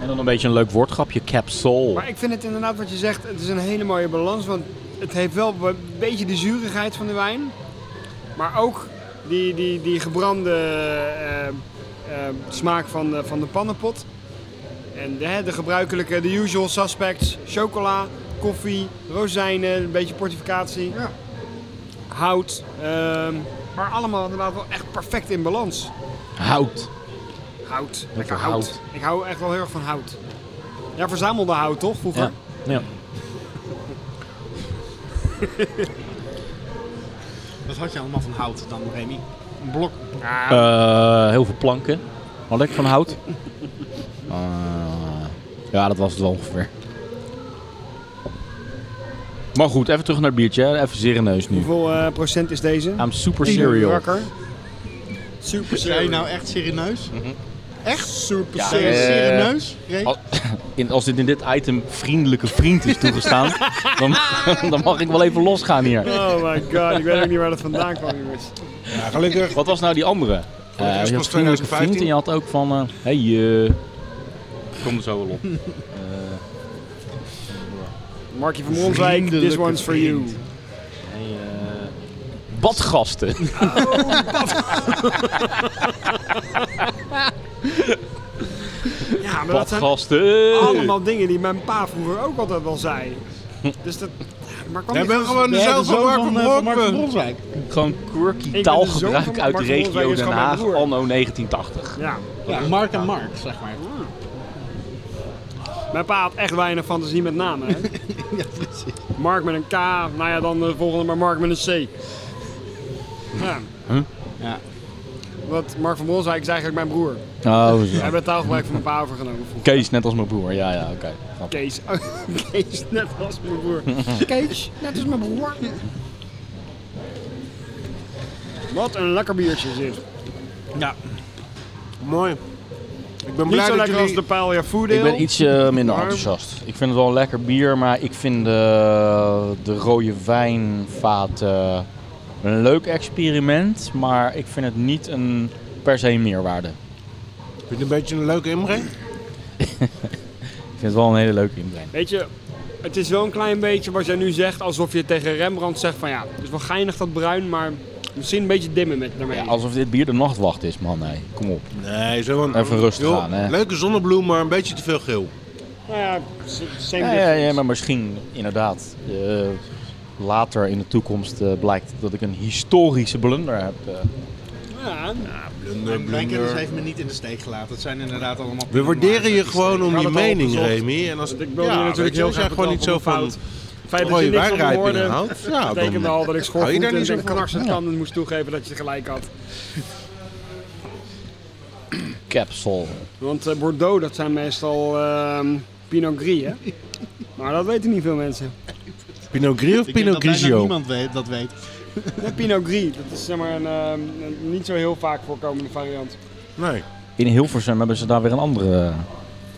Speaker 1: En dan een beetje een leuk woordgrapje, capsule.
Speaker 5: Maar ik vind het inderdaad wat je zegt, het is een hele mooie balans. Want het heeft wel een beetje de zurigheid van de wijn. Maar ook die, die, die gebrande eh, eh, smaak van de, van de pannenpot. En de, hè, de gebruikelijke, de usual suspects. Chocola, koffie, rozijnen, een beetje portificatie.
Speaker 2: Ja.
Speaker 5: Hout. ehm, maar allemaal inderdaad wel echt perfect in balans.
Speaker 1: Hout.
Speaker 5: Hout. Lekker
Speaker 1: veel
Speaker 5: hout.
Speaker 1: hout.
Speaker 5: Ik hou echt wel heel erg van hout. Ja, verzamelde hout toch vroeger?
Speaker 1: Ja. ja.
Speaker 2: Dat had je allemaal van hout dan, Remy. Een blok.
Speaker 1: Eh, heel veel planken. Had ik van hout. <laughs> Eh, ja, dat was het wel ongeveer. Maar goed, even terug naar het biertje. hè. Even zereneus nu.
Speaker 5: Hoeveel eh, procent is deze?
Speaker 1: I'm super serial.
Speaker 5: Rakker. Super
Speaker 2: Zijn je
Speaker 5: serial.
Speaker 2: nou echt serieus?
Speaker 5: echt super
Speaker 1: Ja,
Speaker 5: serial.
Speaker 1: eh,
Speaker 2: Serieus? Remy?
Speaker 1: Al- in, als dit in dit item vriendelijke vriend is <laughs> toegestaan, dan, dan mag ik wel even losgaan hier.
Speaker 5: Oh my god, ik weet ook niet waar dat vandaan kwam, jongens.
Speaker 3: Ja, gelukkig.
Speaker 1: Wat was nou die andere? Eh,
Speaker 3: was
Speaker 1: je had
Speaker 3: pas
Speaker 1: vriendelijke vriend
Speaker 3: 2015.
Speaker 1: en je had ook van... eh, hey, eh, kom er zo wel op.
Speaker 5: Markie van Monswijk, this
Speaker 2: Vriendelijke
Speaker 5: one's for you.
Speaker 2: vriend.
Speaker 1: Hey, eh, badgasten.
Speaker 5: Ja, maar dat zijn
Speaker 1: Badgasten.
Speaker 5: allemaal dingen die mijn pa vroeger ook altijd wel zei. Dus dat... Maar kwam
Speaker 3: Jij
Speaker 5: niet
Speaker 3: bent
Speaker 5: van-
Speaker 3: gewoon de
Speaker 2: Ja,
Speaker 3: zoon van
Speaker 2: zoon
Speaker 3: Mark van
Speaker 2: van, eh, van Mark van
Speaker 3: Bronckhorst.
Speaker 2: Bronswijk.
Speaker 1: Gewoon quirky
Speaker 5: ben de zoon
Speaker 1: taalgebruik
Speaker 5: van
Speaker 1: uit de
Speaker 5: Mark Rolweg,
Speaker 1: regio Den
Speaker 5: is gewoon mijn
Speaker 1: Haag
Speaker 5: broer.
Speaker 1: anno 1980.
Speaker 5: Ja.
Speaker 2: Ja, Mark en Mark, zeg maar.
Speaker 5: Mijn pa had echt weinig fantasie met namen, hè.
Speaker 2: <laughs> Ja, precies.
Speaker 5: Mark met een K, nou ja, dan de volgende maar Mark met een C. Ja.
Speaker 2: Ja.
Speaker 5: Want Mark van Monswijk is eigenlijk mijn broer.
Speaker 1: Oh,
Speaker 5: We hebben het taalgebruik van mijn pa overgenomen vroeger.
Speaker 1: Kees, net als mijn broer. Ja, ja, oké. Snap ik.
Speaker 5: Kees. Oh, <laughs> Kees, net als mijn broer. <laughs> Kees, net als mijn broer. Wat een lekker biertje zit.
Speaker 3: Mooi. Ik ben
Speaker 5: Niet
Speaker 3: blij
Speaker 5: zo
Speaker 3: dat
Speaker 5: lekker als
Speaker 3: jullie...
Speaker 5: de Paul Foodale.
Speaker 1: Ik ben iets eh, minder
Speaker 5: Maar-
Speaker 1: enthousiast. Ik vind het wel een lekker bier, maar ik vind de, de rode wijnvaat eh, een leuk experiment. Maar ik vind het niet een per se meerwaarde.
Speaker 3: Vind je het een beetje een leuke inbreng?
Speaker 1: Ik vind het wel een hele leuke inbreng.
Speaker 5: Weet je, het is wel een klein beetje wat jij nu zegt, alsof je tegen Rembrandt zegt van ja, het is wel geinig dat bruin, maar misschien een beetje dimmen met daarmee.
Speaker 1: Ja, alsof dit bier de nachtwacht is, man. Nee, kom op.
Speaker 3: Nee, zo een...
Speaker 1: Even rustig
Speaker 3: Joh,
Speaker 1: aan, hè.
Speaker 3: Leuke zonnebloem, maar een beetje te veel geel.
Speaker 5: Nou ja, s- same
Speaker 1: Ja, ja,
Speaker 5: difference.
Speaker 1: ja, maar misschien inderdaad. eh, later in de toekomst eh, blijkt dat ik een historische blunder heb. eh.
Speaker 5: Ja,
Speaker 3: Blunder,
Speaker 2: Mijn, mijn kennis
Speaker 3: blunder.
Speaker 2: heeft me niet in de steek gelaten. Het zijn inderdaad allemaal...
Speaker 3: We waarderen je gewoon om
Speaker 5: had
Speaker 3: je
Speaker 5: het al
Speaker 3: mening,
Speaker 5: opgezocht.
Speaker 3: Remy. En als
Speaker 5: want ik wil hier natuurlijk heel
Speaker 3: heel
Speaker 5: graag
Speaker 3: zijn gewoon niet zo van
Speaker 5: betaald voor mijn fout. Het feit dat je
Speaker 3: rode
Speaker 5: niks van me
Speaker 3: wijnrijping
Speaker 5: hoorde,
Speaker 3: houdt. Ja,
Speaker 5: betekende
Speaker 3: dan...
Speaker 5: al dat ik
Speaker 3: Hou je
Speaker 5: schoorvoet
Speaker 3: daar
Speaker 5: en
Speaker 3: niet zo
Speaker 5: en
Speaker 3: van?
Speaker 5: knarsend tanden moest toegeven dat je gelijk had.
Speaker 1: Capsule.
Speaker 5: Want eh, Bordeaux, dat zijn meestal ehm, Pinot Gris,
Speaker 3: <laughs>
Speaker 5: hè? maar dat weten niet veel mensen.
Speaker 3: Pinot Gris of
Speaker 2: Ik denk dat
Speaker 3: Pinot
Speaker 2: bijna
Speaker 3: Grigio?
Speaker 2: niemand weet, dat weet.
Speaker 5: De Pinot Gris, dat is zeg maar een, ehm, een niet zo heel vaak voorkomende variant.
Speaker 3: Nee.
Speaker 1: in Hilversum hebben ze daar weer een andere eh,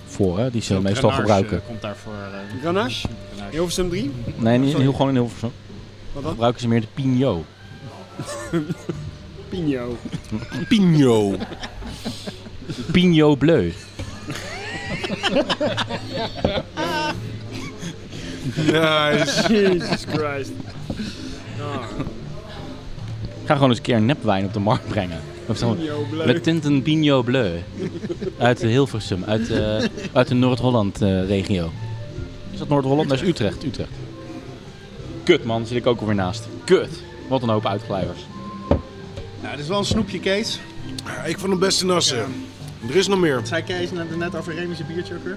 Speaker 1: voor, hè, die ze meestal gebruiken.
Speaker 2: komt daarvoor. eh,
Speaker 5: Grenache?
Speaker 2: Grenache.
Speaker 5: Hilversum 3?
Speaker 1: Nee, niet, heel, gewoon in Hilversum.
Speaker 5: Wat
Speaker 1: Dan
Speaker 5: dan?
Speaker 1: gebruiken ze meer de Pino.
Speaker 3: <laughs>
Speaker 5: Pino.
Speaker 3: Pino.
Speaker 1: Pino Bleu.
Speaker 3: Nice.
Speaker 5: Jesus Christ.
Speaker 1: Ga gewoon eens een keer een nepwijn op de markt brengen. Of zo.
Speaker 5: Pino Bleu.
Speaker 1: Le Tinten Pino Bleu. Uit eh, Hilversum, uit, eh, uit de Noord-Holland-regio. is dat Noord-Holland? Dat is Utrecht. Utrecht. Kut man, zit ik ook alweer naast. Kut. Wat een hoop uitglijvers.
Speaker 2: Nou, dit is wel een snoepje, Kees.
Speaker 3: Ik vond hem best een nassen. Er is nog meer.
Speaker 2: Zei Kees net, net over Remy zijn biertje ook weer?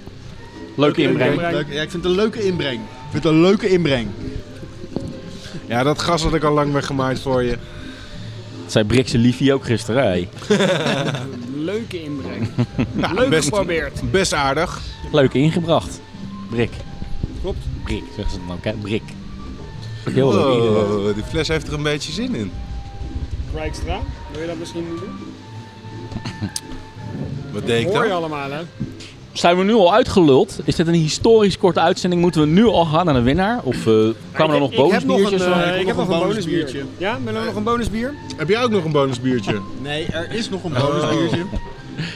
Speaker 1: Leuke inbreng.
Speaker 2: Leuk, ja, ik vind het een leuke inbreng. Ik vind het een leuke inbreng.
Speaker 3: Ja, dat gas had ik al lang weggemaakt voor <laughs> je.
Speaker 1: Dat zei Brikse Liefie ook gisteren. hè.
Speaker 5: Leuke inbreng. Leuk
Speaker 3: best-
Speaker 5: geprobeerd.
Speaker 3: Best aardig.
Speaker 1: Leuk ingebracht. Brik.
Speaker 5: Klopt.
Speaker 1: Brik, zeggen ze dan ook. Hè? Brik. Heel leuk. iedereen.
Speaker 3: Oh, die fles heeft er een beetje zin in.
Speaker 5: Rijkstra, wil je dat misschien niet doen?
Speaker 3: Wat deed ik
Speaker 5: Hoor je
Speaker 3: dan?
Speaker 5: allemaal, hè?
Speaker 1: Zijn we nu al uitgeluld? Is dit een historisch korte uitzending? Moeten we nu al gaan naar de winnaar? Of eh, kwamen er nog bonusbiertjes?
Speaker 5: Ik,
Speaker 1: aan?
Speaker 5: heb nog een, eh, ik heb nog een bonusbiertje.
Speaker 2: bonusbiertje.
Speaker 5: Ja, willen we nog een bonusbier?
Speaker 3: Heb jij ook nog een bonusbiertje?
Speaker 2: Nee, er is nog een bonusbiertje.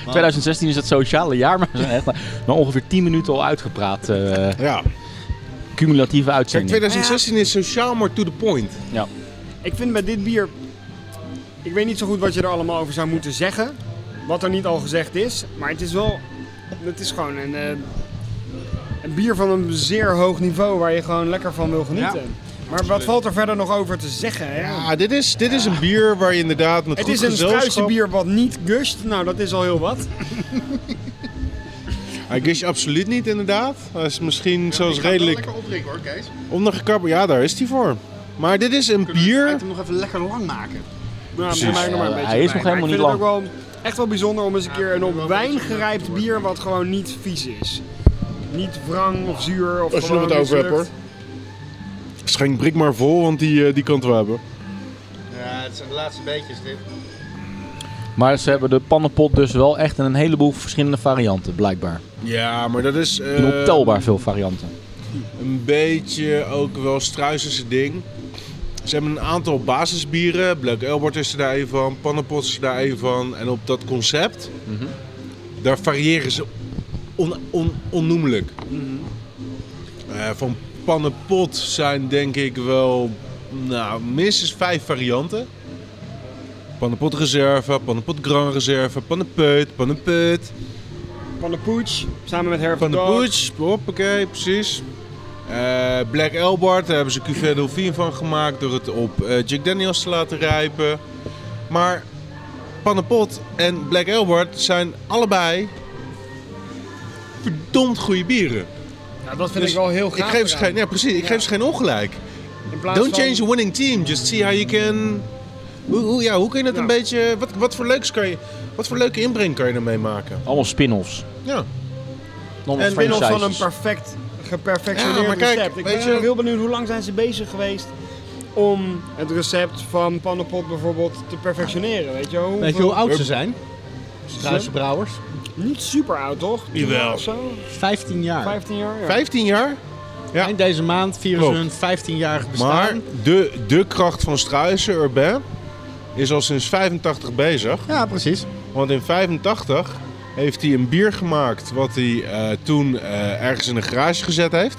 Speaker 1: Oh. 2016 is het sociale jaar, maar we zijn echt maar ongeveer 10 minuten al uitgepraat. eh,
Speaker 3: Ja.
Speaker 1: cumulatieve
Speaker 3: Kijk,
Speaker 1: uitzending.
Speaker 3: 2016 is sociaal, maar to the point.
Speaker 5: Ik vind bij dit bier... Ik weet niet zo goed wat je er allemaal over zou moeten zeggen. Wat er niet al gezegd is. Maar het is wel... Het is gewoon een, eh, een bier van een zeer hoog niveau waar je gewoon lekker van wil genieten. Maar wat valt er verder nog over te zeggen? Hè?
Speaker 3: Ja, Ah, dit is, dit is een bier waar je inderdaad met
Speaker 5: het
Speaker 3: goed
Speaker 5: is een
Speaker 3: gezelschap...
Speaker 5: struisenbier wat niet gusht. Nou, dat is al heel wat.
Speaker 3: Hij is absoluut niet, inderdaad. Hij is misschien zoals
Speaker 2: Ik ga het wel
Speaker 3: redelijk
Speaker 2: lekker opdrinken hoor, Kees.
Speaker 3: ondergekabbeld. Ja, daar is hij voor. Maar dit is een
Speaker 2: Ga
Speaker 3: bier...
Speaker 2: ik hem nog even lekker lang maken.
Speaker 5: Nou,
Speaker 3: Precies.
Speaker 5: voor mij nog maar een
Speaker 1: Eh,
Speaker 5: beetje
Speaker 1: hij is nog
Speaker 5: wijn. Maar
Speaker 1: helemaal
Speaker 5: ik
Speaker 1: niet
Speaker 5: vind het ook wel echt wel bijzonder om eens een keer een op wijn gerijpt bier wat gewoon niet vies is. Niet wrang of zuur
Speaker 3: Als
Speaker 5: of
Speaker 3: je er
Speaker 5: gewoon
Speaker 3: wat over hebt, hoor.
Speaker 5: mislukt.
Speaker 3: Schenk Brik maar vol, want die, eh, die kant we hebben.
Speaker 2: Ja, het zijn de laatste beetjes dit.
Speaker 1: Maar ze hebben de pannenpot dus wel echt in een heleboel verschillende varianten, blijkbaar.
Speaker 3: Ja, maar dat is... eh,
Speaker 1: In ontelbaar veel varianten.
Speaker 3: een beetje ook wel struisense ding. Ze hebben een aantal basisbieren. Black Elbert is er daar een van, Pannenpot is er daar een van. En op dat concept, daar variëren ze on, on, onnoemelijk. Eh, van Pannenpot zijn denk ik wel nou, minstens vijf varianten. Pannenpot Reserve, Pannenpot Grand Reserve, Pannenpeut, Pannenpeut.
Speaker 5: Van de Poets, samen met Herb
Speaker 3: Van de
Speaker 5: Dog.
Speaker 3: Butch, hoppakee, precies. Eh, Black Elbart, daar hebben ze cuvée Dauphine van gemaakt door het op eh, Jack Daniels te laten rijpen. Maar Pannenpot en Black Elbart zijn allebei verdomd goede bieren.
Speaker 5: Nou, dat vind
Speaker 3: Dus
Speaker 5: ik wel heel
Speaker 3: Ik
Speaker 5: gaaf.
Speaker 3: geef ze
Speaker 5: eraan.
Speaker 3: geen, ja, precies, ik
Speaker 5: Ja.
Speaker 3: geef ze geen ongelijk.
Speaker 5: In plaats
Speaker 3: Don't
Speaker 5: van-
Speaker 3: change a winning team, just see how you can... Hoe, hoe, ja, hoe kun je dat
Speaker 5: Ja.
Speaker 3: een beetje... Wat, wat, voor leuks kan je, wat voor leuke inbreng kan je ermee maken?
Speaker 1: Allemaal spin-offs.
Speaker 3: Ja.
Speaker 1: Allemaal
Speaker 5: En binnen van een
Speaker 1: franchises.
Speaker 5: perfect, geperfectioneerd
Speaker 3: Ja, maar kijk,
Speaker 5: recept. Ik
Speaker 3: weet
Speaker 5: ben
Speaker 3: je-
Speaker 5: heel benieuwd hoe lang zijn ze bezig geweest om het recept van pannenpot bijvoorbeeld te perfectioneren. Weet je, hoeveel...
Speaker 2: Weet je hoe oud ze zijn? Struisenbrouwers.
Speaker 5: Niet super oud, toch?
Speaker 3: Jawel.
Speaker 5: Of Zo,
Speaker 2: 15 jaar.
Speaker 5: 15 jaar? ja.
Speaker 3: 15 jaar? Ja.
Speaker 2: Eind deze maand vieren ze
Speaker 3: Klopt.
Speaker 2: hun 15-jarig
Speaker 3: Maar
Speaker 2: bestaan.
Speaker 3: de, de kracht van Struisen Urbain is al sinds 85 bezig.
Speaker 2: Ja, precies.
Speaker 3: Want in 85 heeft hij een bier gemaakt wat hij eh, toen eh, ergens in een garage gezet heeft.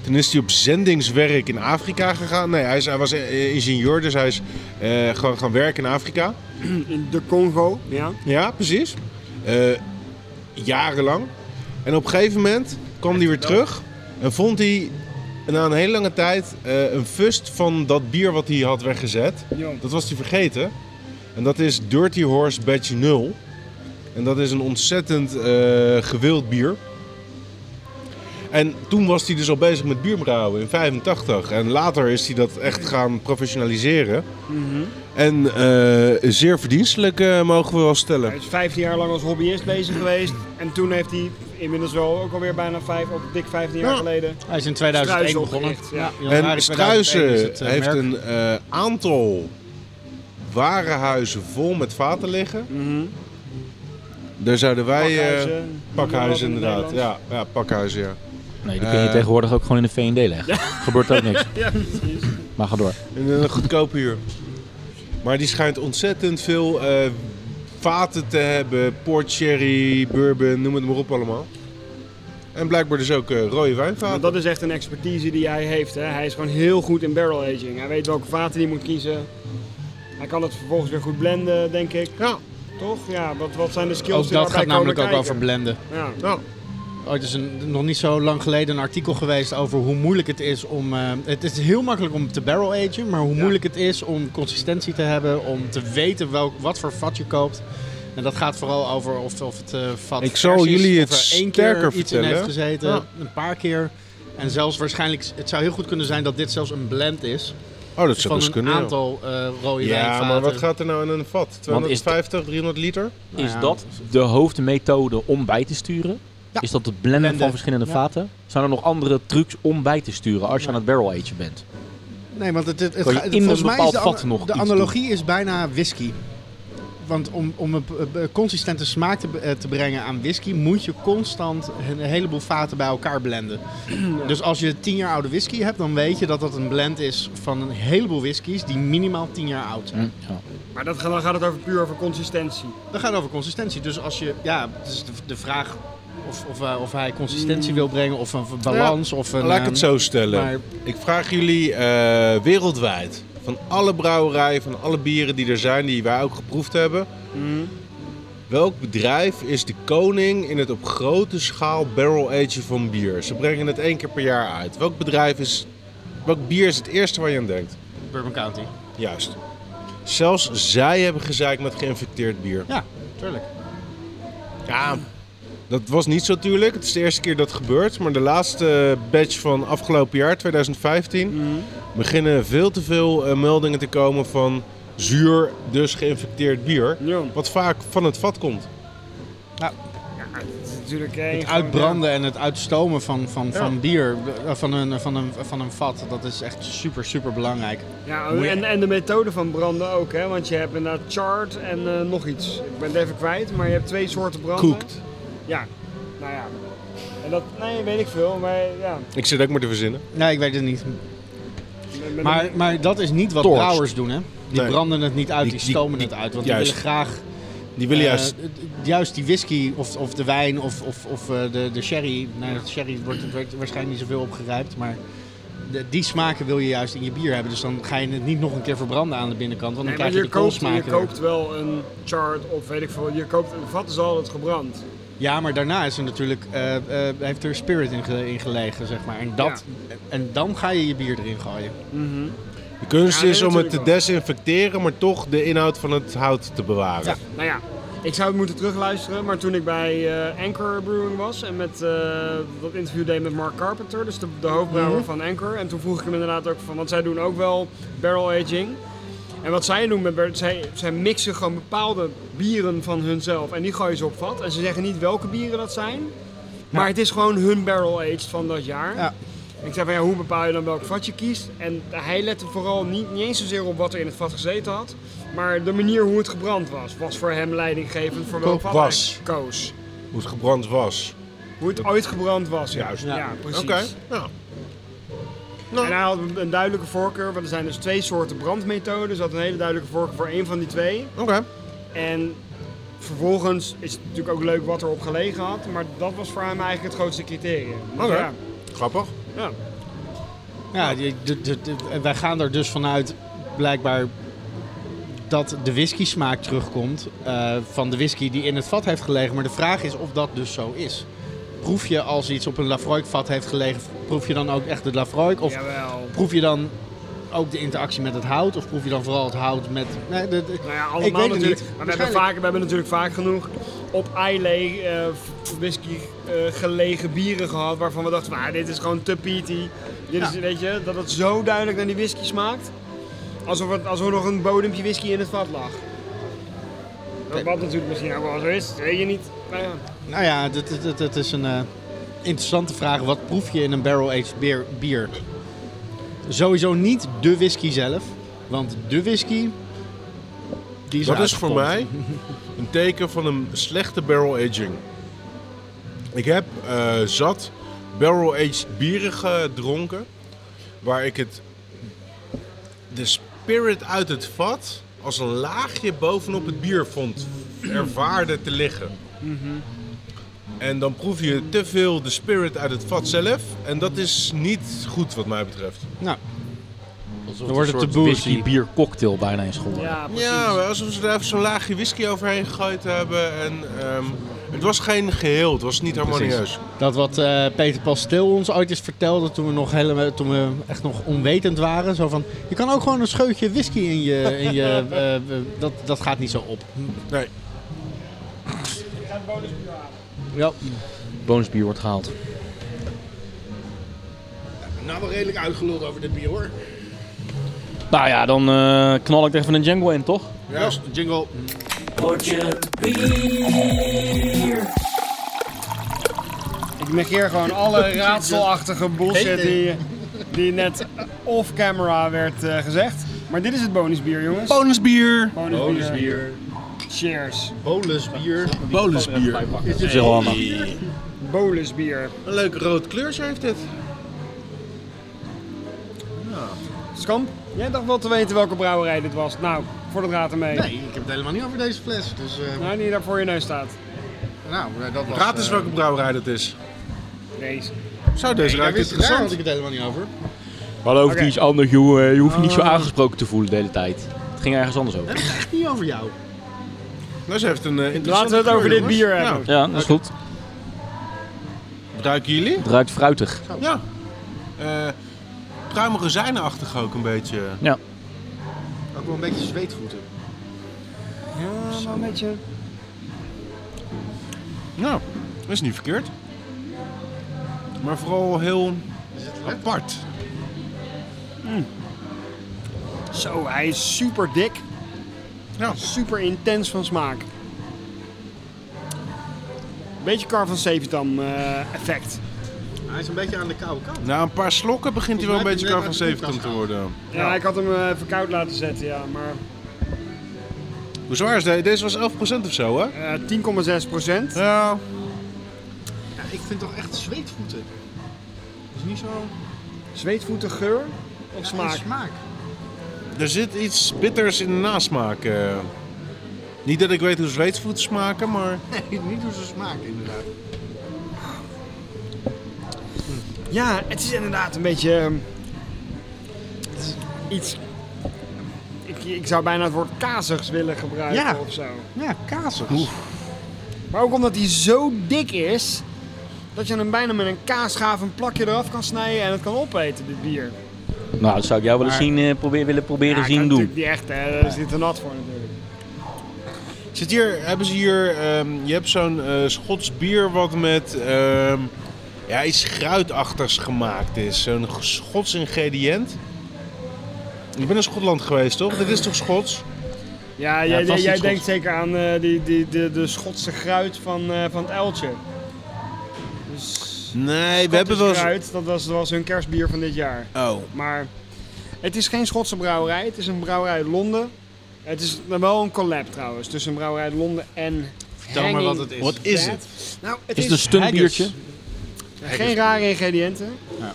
Speaker 3: Toen is hij op zendingswerk in Afrika gegaan. Nee, hij, is, hij was eh, ingenieur, dus hij is eh, gewoon gaan werken in Afrika.
Speaker 5: In de Congo, ja.
Speaker 3: Ja, precies. Eh, jarenlang. En op een gegeven moment kwam hij weer terug en vond hij na een hele lange tijd eh, een fust van dat bier wat hij had weggezet.
Speaker 5: Ja.
Speaker 3: Dat was hij vergeten. En dat is Dirty Horse Batch 0. En dat is een ontzettend eh, gewild bier. En toen was hij dus al bezig met bierbrouwen in 85. En later is hij dat echt gaan professionaliseren. En eh, zeer verdienstelijk eh, mogen we wel stellen.
Speaker 5: Hij is 15 jaar lang als hobbyist bezig geweest. En toen heeft hij inmiddels wel ook alweer bijna 5, ook dik 15 jaar
Speaker 3: Ja.
Speaker 5: geleden.
Speaker 2: Hij is in 2001
Speaker 5: Struisen
Speaker 2: dus begonnen.
Speaker 5: opgericht, ja.
Speaker 3: En Struisen heeft
Speaker 2: een
Speaker 3: een eh, aantal warenhuizen vol met vaten liggen. Daar zouden wij... eh,
Speaker 5: Pakhuizen.
Speaker 3: pakhuizen
Speaker 5: Noem maar wat in het
Speaker 3: inderdaad. Ja, ja, pakhuizen, ja.
Speaker 1: Nee, die kun je
Speaker 3: Eh.
Speaker 1: tegenwoordig ook gewoon in de V&D <laughs> leggen. Gebeurt ook niks.
Speaker 5: Ja, precies.
Speaker 1: Maar ga door.
Speaker 3: En een goedkope huur. Maar die schijnt ontzettend veel eh, vaten te hebben. Port sherry, bourbon, noem het maar op allemaal. En blijkbaar dus ook eh, rode
Speaker 5: Want
Speaker 3: wijnvaten.
Speaker 5: dat is echt een expertise die hij heeft. Hè. Hij is gewoon heel goed in barrel aging. Hij weet welke vaten hij moet kiezen. Hij kan het vervolgens weer goed blenden, denk ik.
Speaker 3: Ja,
Speaker 5: Toch? Ja, wat, wat zijn de skills
Speaker 2: Ook
Speaker 5: die
Speaker 2: dat
Speaker 5: daarbij
Speaker 2: gaat namelijk ook
Speaker 5: komen
Speaker 2: over
Speaker 5: kijken?
Speaker 2: blenden.
Speaker 5: Ja.
Speaker 3: nou,
Speaker 2: Ooit is een, nog niet zo lang geleden een artikel geweest over hoe moeilijk het is om... eh, het is heel makkelijk om te barrel agen, maar hoe moeilijk het is om consistentie te hebben, om te weten welk, wat voor vat je koopt. En dat gaat vooral over of, of het eh, vat
Speaker 3: Ik zal
Speaker 2: vers is,
Speaker 3: jullie
Speaker 2: of
Speaker 3: het
Speaker 2: er één
Speaker 3: sterker
Speaker 2: keer iets in heeft
Speaker 3: vertellen.
Speaker 2: gezeten,
Speaker 3: Ja.
Speaker 2: een paar keer. En zelfs waarschijnlijk, het zou heel goed kunnen zijn dat dit zelfs een blend is
Speaker 3: oh, dat zou
Speaker 2: van
Speaker 3: dus
Speaker 2: een
Speaker 3: kunnen. ja.
Speaker 2: aantal eh rode
Speaker 3: ja,
Speaker 2: wijnvaten.
Speaker 3: maar wat gaat er nou in een vat? 250, 300 liter?
Speaker 2: Nou
Speaker 1: Is
Speaker 2: ja,
Speaker 1: dat de hoofdmethode om bij te sturen?
Speaker 2: Ja.
Speaker 1: Is dat het blenden,
Speaker 2: Blenden.
Speaker 1: van verschillende
Speaker 2: Ja.
Speaker 1: vaten? Zijn er nog andere trucs om bij te sturen als je aan het barrel agen bent?
Speaker 2: Nee, want het, het, het,
Speaker 1: Kan je
Speaker 2: gaat-
Speaker 1: in
Speaker 2: volgens
Speaker 1: een
Speaker 2: mij is
Speaker 1: bepaald
Speaker 2: de, an-
Speaker 1: vat nog
Speaker 2: de
Speaker 1: iets
Speaker 2: analogie is bijna whisky. Want om, om een eh, consistente smaak te, be- eh, te brengen aan whisky, moet je constant een heleboel vaten bij elkaar
Speaker 1: <clears throat>
Speaker 2: blenden. Dus als je 10 jaar oude whisky hebt, dan weet je dat dat een blend is van een heleboel whiskies die minimaal 10 jaar oud zijn.
Speaker 1: Ja.
Speaker 5: Maar dat, gaat- dan gaat het over puur over consistentie.
Speaker 2: Dat gaat over consistentie. Dus als je, ja, het is de, de vraag of, of, eh, of hij consistentie
Speaker 1: Mm.
Speaker 2: wil brengen, of een balans, of een.
Speaker 3: Laat ik het
Speaker 2: eh,
Speaker 3: zo stellen.
Speaker 2: maar-
Speaker 3: Ik vraag jullie eh, wereldwijd, van alle brouwerijen, van alle bieren die er zijn, die wij ook geproefd hebben.
Speaker 2: Mhm.
Speaker 3: Welk bedrijf is de koning in het op grote schaal barrel agen van bier? Ze brengen het één keer per jaar uit. Welk bedrijf is, welk bier is het eerste waar je aan denkt?
Speaker 2: Bourbon County.
Speaker 3: Juist. Zelfs zij hebben gezeik met geïnfecteerd bier.
Speaker 2: Ja, tuurlijk.
Speaker 3: Ja, dat was niet zo tuurlijk. Het is de eerste keer dat het gebeurt. Maar de laatste batch van afgelopen jaar, 2015, beginnen veel te veel eh, meldingen te komen van zuur, dus geïnfecteerd bier.
Speaker 5: Ja.
Speaker 3: Wat vaak van het vat komt.
Speaker 5: Het is natuurlijk eh,
Speaker 2: Het
Speaker 5: gewoon,
Speaker 2: uitbranden en het uitstomen van, van,
Speaker 3: Ja.
Speaker 2: van bier, eh, van een, van, een, van een vat, dat is echt super, super belangrijk.
Speaker 5: Ja, ja, en, en de methode van branden ook, hè? Want je hebt inderdaad chart en eh, nog iets. Ik ben het even kwijt, maar je hebt twee soorten branden.
Speaker 3: Koekt.
Speaker 5: Ja, nou ja. En dat, nee, weet ik veel, maar ja.
Speaker 3: Ik zit ook maar te verzinnen.
Speaker 2: Nee, ik weet het niet.
Speaker 5: Met- met
Speaker 2: Maar, maar dat is niet wat
Speaker 1: Torst.
Speaker 2: brouwers doen, hè? Die
Speaker 3: Nee.
Speaker 2: branden het niet uit,
Speaker 3: Die-
Speaker 2: die
Speaker 3: die-
Speaker 2: stomen
Speaker 3: die-
Speaker 2: het uit. Want
Speaker 3: juist.
Speaker 2: die willen graag
Speaker 3: Die willen
Speaker 2: eh,
Speaker 3: juist.
Speaker 2: d- juist die whisky of, of de wijn of, of, of eh, de, de sherry. Nou, de sherry wordt het werd waarschijnlijk niet zoveel opgerijpt, maar... de- die smaken wil je juist in je bier hebben. Dus dan ga je het niet nog een keer verbranden aan de binnenkant. Want
Speaker 5: Nee,
Speaker 2: dan
Speaker 5: maar
Speaker 2: krijg je
Speaker 5: je
Speaker 2: de
Speaker 5: koopt,
Speaker 2: koolsmaken
Speaker 5: je
Speaker 2: weer.
Speaker 5: koopt wel een chart of weet ik veel. Je koopt, een vat is altijd gebrand.
Speaker 2: Ja, maar daarna is er natuurlijk, eh, eh, heeft er spirit in, ge- in gelegen, zeg maar. En, dat, en dan ga je je bier erin gooien.
Speaker 3: De kunst
Speaker 5: Ja, nee,
Speaker 3: is om het te
Speaker 5: natuurlijk wel.
Speaker 3: desinfecteren, maar toch de inhoud van het hout te bewaren.
Speaker 2: Ja.
Speaker 5: Nou ja, ik zou het moeten terugluisteren, maar toen ik bij eh, Anchor Brewing was en met eh, dat interview deed met Mark Carpenter, dus de, de hoofdbrouwer
Speaker 2: Mhm.
Speaker 5: van Anchor. En toen vroeg ik hem inderdaad ook van, want zij doen ook wel barrel aging. En wat zij doen met barrel, zij, zij mixen gewoon bepaalde bieren van hunzelf en die gooien ze op vat. En ze zeggen niet welke bieren dat zijn, maar het is gewoon hun barrel aged van dat jaar.
Speaker 2: Ja.
Speaker 5: Ik zei van ja, hoe bepaal je dan welk vat je kiest? En hij lette vooral niet, niet eens zozeer op wat er in het vat gezeten had. Maar de manier hoe het gebrand was, was voor hem leidinggevend voor welk
Speaker 3: Koop
Speaker 5: vat
Speaker 3: was.
Speaker 5: hij koos.
Speaker 3: Hoe het gebrand was.
Speaker 5: Hoe het ooit gebrand was. Ja.
Speaker 3: Juist.
Speaker 5: Ja,
Speaker 3: Oké.
Speaker 5: precies.
Speaker 3: Nou,
Speaker 5: En hij had een duidelijke voorkeur, want er zijn dus twee soorten brandmethoden. Dus hij had een hele duidelijke voorkeur voor één van die twee.
Speaker 3: oké.
Speaker 5: En vervolgens is het natuurlijk ook leuk wat erop gelegen had. Maar dat was voor hem eigenlijk het grootste criterium. Dus
Speaker 3: Oké.
Speaker 5: ja,
Speaker 3: Grappig.
Speaker 5: ja.
Speaker 2: Ja, die- de- de- de- en wij gaan er dus vanuit, blijkbaar, dat de whisky smaak terugkomt eh, van de whisky die in het vat heeft gelegen. Maar de vraag is of dat dus zo is. Proef je als iets op een Lafroik vat heeft gelegen, proef je dan ook echt de Lafroik? Of
Speaker 5: Jawel.
Speaker 2: proef je dan ook de interactie met het hout? Of proef je dan vooral het hout met... Nee, de- de-
Speaker 5: Nou ja,
Speaker 2: Ik
Speaker 5: allemaal
Speaker 2: weet het
Speaker 5: natuurlijk.
Speaker 2: niet.
Speaker 5: Maar we hebben, vaak, we hebben natuurlijk vaak genoeg op Islay eh, f- whisky eh, gelegen bieren gehad waarvan we dachten, "Maar dit is gewoon te peaty. Dit is, weet je, dat het zo duidelijk naar die whisky smaakt. Alsof, het, alsof er nog een bodempje whisky in het vat lag. Wat natuurlijk misschien ook wel zo is, dat weet je niet. Maar ja.
Speaker 2: Nou ja, dat, dat- dat, dat is een eh, interessante vraag. Wat proef je in een barrel-aged bier, bier? Sowieso niet de whisky zelf. Want de whisky... Die is
Speaker 3: Dat is
Speaker 2: eruit
Speaker 3: voor
Speaker 2: gepompt.
Speaker 3: mij een teken van een slechte barrel aging. Ik heb eh, zat barrel aged bieren gedronken, waar ik het de spirit uit het vat als een laagje bovenop het bier vond ervaarde te liggen. En dan proef je te veel de spirit uit het vat zelf. En dat is niet goed wat mij betreft.
Speaker 1: Dan wordt het de whisky bier cocktail bijna in school.
Speaker 5: Ja, precies.
Speaker 3: Ja, maar alsof ze er even zo'n laagje whisky overheen gegooid hebben. En, ehm, het was geen geheel, het was niet harmonieus.
Speaker 2: Dat wat eh, Peter Pastil ons ooit eens vertelde toen we, nog helemaal, toen we echt nog onwetend waren. Zo van, je kan ook gewoon een scheutje whisky in je... In
Speaker 3: <laughs>
Speaker 2: je eh, eh, dat, dat gaat niet zo op.
Speaker 3: Nee.
Speaker 2: Ja.
Speaker 1: Boonsbier wordt gehaald.
Speaker 2: Nou, wel redelijk uitgeluld over dit bier hoor.
Speaker 1: Nou ja, dan eh, knal ik er even een Django in, toch?
Speaker 3: Juist.
Speaker 2: Jingle.
Speaker 5: Ik negeer gewoon alle raadselachtige bullshit die, die net off-camera werd eh, gezegd. Maar dit is het bonusbier, jongens.
Speaker 3: Bonusbier.
Speaker 5: Bonusbier. Cheers.
Speaker 2: Bolusbier.
Speaker 3: Bonusbier.
Speaker 1: Dat is heel handig.
Speaker 5: Bonusbier.
Speaker 3: Een leuk rood kleurtje heeft dit.
Speaker 5: Skamp, jij dacht wel te weten welke brouwerij dit was. Nou, voor de draad ermee.
Speaker 2: Nee, ik heb het helemaal niet over deze fles. Dus, eh,
Speaker 5: Nou, die daar voor je neus staat.
Speaker 2: nou, eh, dat was...
Speaker 3: Raad
Speaker 2: eh,
Speaker 3: eens welke brouwerij dat is.
Speaker 5: Deze.
Speaker 3: Zou deze
Speaker 2: daar
Speaker 3: ruikt
Speaker 2: wist- Daar had
Speaker 3: interessant?
Speaker 2: ik het helemaal niet over.
Speaker 1: Maar over
Speaker 5: Oké.
Speaker 1: iets anders, joh. Eh, Je hoeft je niet zo aangesproken te voelen de hele tijd. Het ging ergens anders over.
Speaker 2: Echt niet over jou.
Speaker 3: Nou, ze heeft een eh, interessante
Speaker 5: Laten we het
Speaker 3: kleur,
Speaker 5: over dit
Speaker 3: jongens.
Speaker 5: bier hebben.
Speaker 1: Ja, dat is goed.
Speaker 3: Nou, ruiken jullie?
Speaker 1: Het ruikt fruitig.
Speaker 3: Ja. Eh pruimige zijnenachtig ook een beetje.
Speaker 2: Ook wel een beetje zweetvoeten.
Speaker 5: Ja, maar een beetje.
Speaker 3: Nou, dat is niet verkeerd. Maar vooral heel apart.
Speaker 5: Zo, hij is super dik.
Speaker 3: Ja.
Speaker 5: Super intens van smaak. Beetje Car van Sevitam eh, effect.
Speaker 2: Hij is een beetje aan de koude kant.
Speaker 3: Na een paar slokken begint hij wel een
Speaker 2: Volgens
Speaker 3: beetje
Speaker 2: mij
Speaker 3: kar
Speaker 2: heb
Speaker 3: van
Speaker 2: ik hem net uit de
Speaker 3: 70 te
Speaker 2: koelkast
Speaker 3: worden.
Speaker 5: Ja, ik had hem eh, even koud laten zetten, ja. Maar
Speaker 3: Hoe zwaar is deze? Deze was 11% of zo, hè?
Speaker 5: eh, 10,6 procent.
Speaker 3: Ja.
Speaker 2: Ja, ik vind toch echt zweetvoeten. Dat is niet zo...
Speaker 5: Zweetvoeten geur of smaak?
Speaker 2: smaak.
Speaker 3: Er zit iets bitters in de nasmaak. eh. Niet dat ik weet hoe zweetsvoeten smaken, maar...
Speaker 2: Nee, niet hoe ze smaken inderdaad.
Speaker 5: Ja, het is inderdaad een beetje... ehm, het is iets... Ik, ik zou bijna het woord kazigs willen gebruiken
Speaker 2: Ja.
Speaker 5: of zo.
Speaker 2: Ja, kazig.
Speaker 5: Maar ook omdat hij zo dik is, dat je hem bijna met een kaasschaaf een plakje eraf kan snijden en het kan opeten, dit bier.
Speaker 1: Nou, dat zou ik jou wel eens zien, eh, probeer, willen proberen
Speaker 5: ik
Speaker 1: zien
Speaker 5: kan
Speaker 1: doen.
Speaker 5: natuurlijk niet echt, hè. daar zit er nat voor natuurlijk.
Speaker 3: Zit hier, hebben ze hier... ehm, je hebt zo'n eh, Schots bier wat met... ehm, ja, iets gruitachtigs gemaakt is. Zo'n Schots ingrediënt. Ik ben in Schotland geweest, toch? Dit is toch Schots?
Speaker 5: Ja, jij,
Speaker 1: het was
Speaker 5: jij
Speaker 1: iets
Speaker 5: denkt zeker aan eh, die, die, de, de Schotse gruit van, eh, van het uiltje. Dus
Speaker 3: Nee, we hebben wel eens...
Speaker 5: Gruit, dat was, dat was hun kerstbier van dit jaar.
Speaker 3: Oh.
Speaker 5: Maar het is geen Schotse brouwerij, het is een brouwerij uit Londen. Het is dan wel een collab trouwens, tussen een brouwerij uit Londen en...
Speaker 2: Vertel maar wat het is.
Speaker 3: Wat is het?
Speaker 5: Nou, het
Speaker 1: Is het een stuntbiertje?
Speaker 5: Geen rare ingrediënten.
Speaker 2: Ja.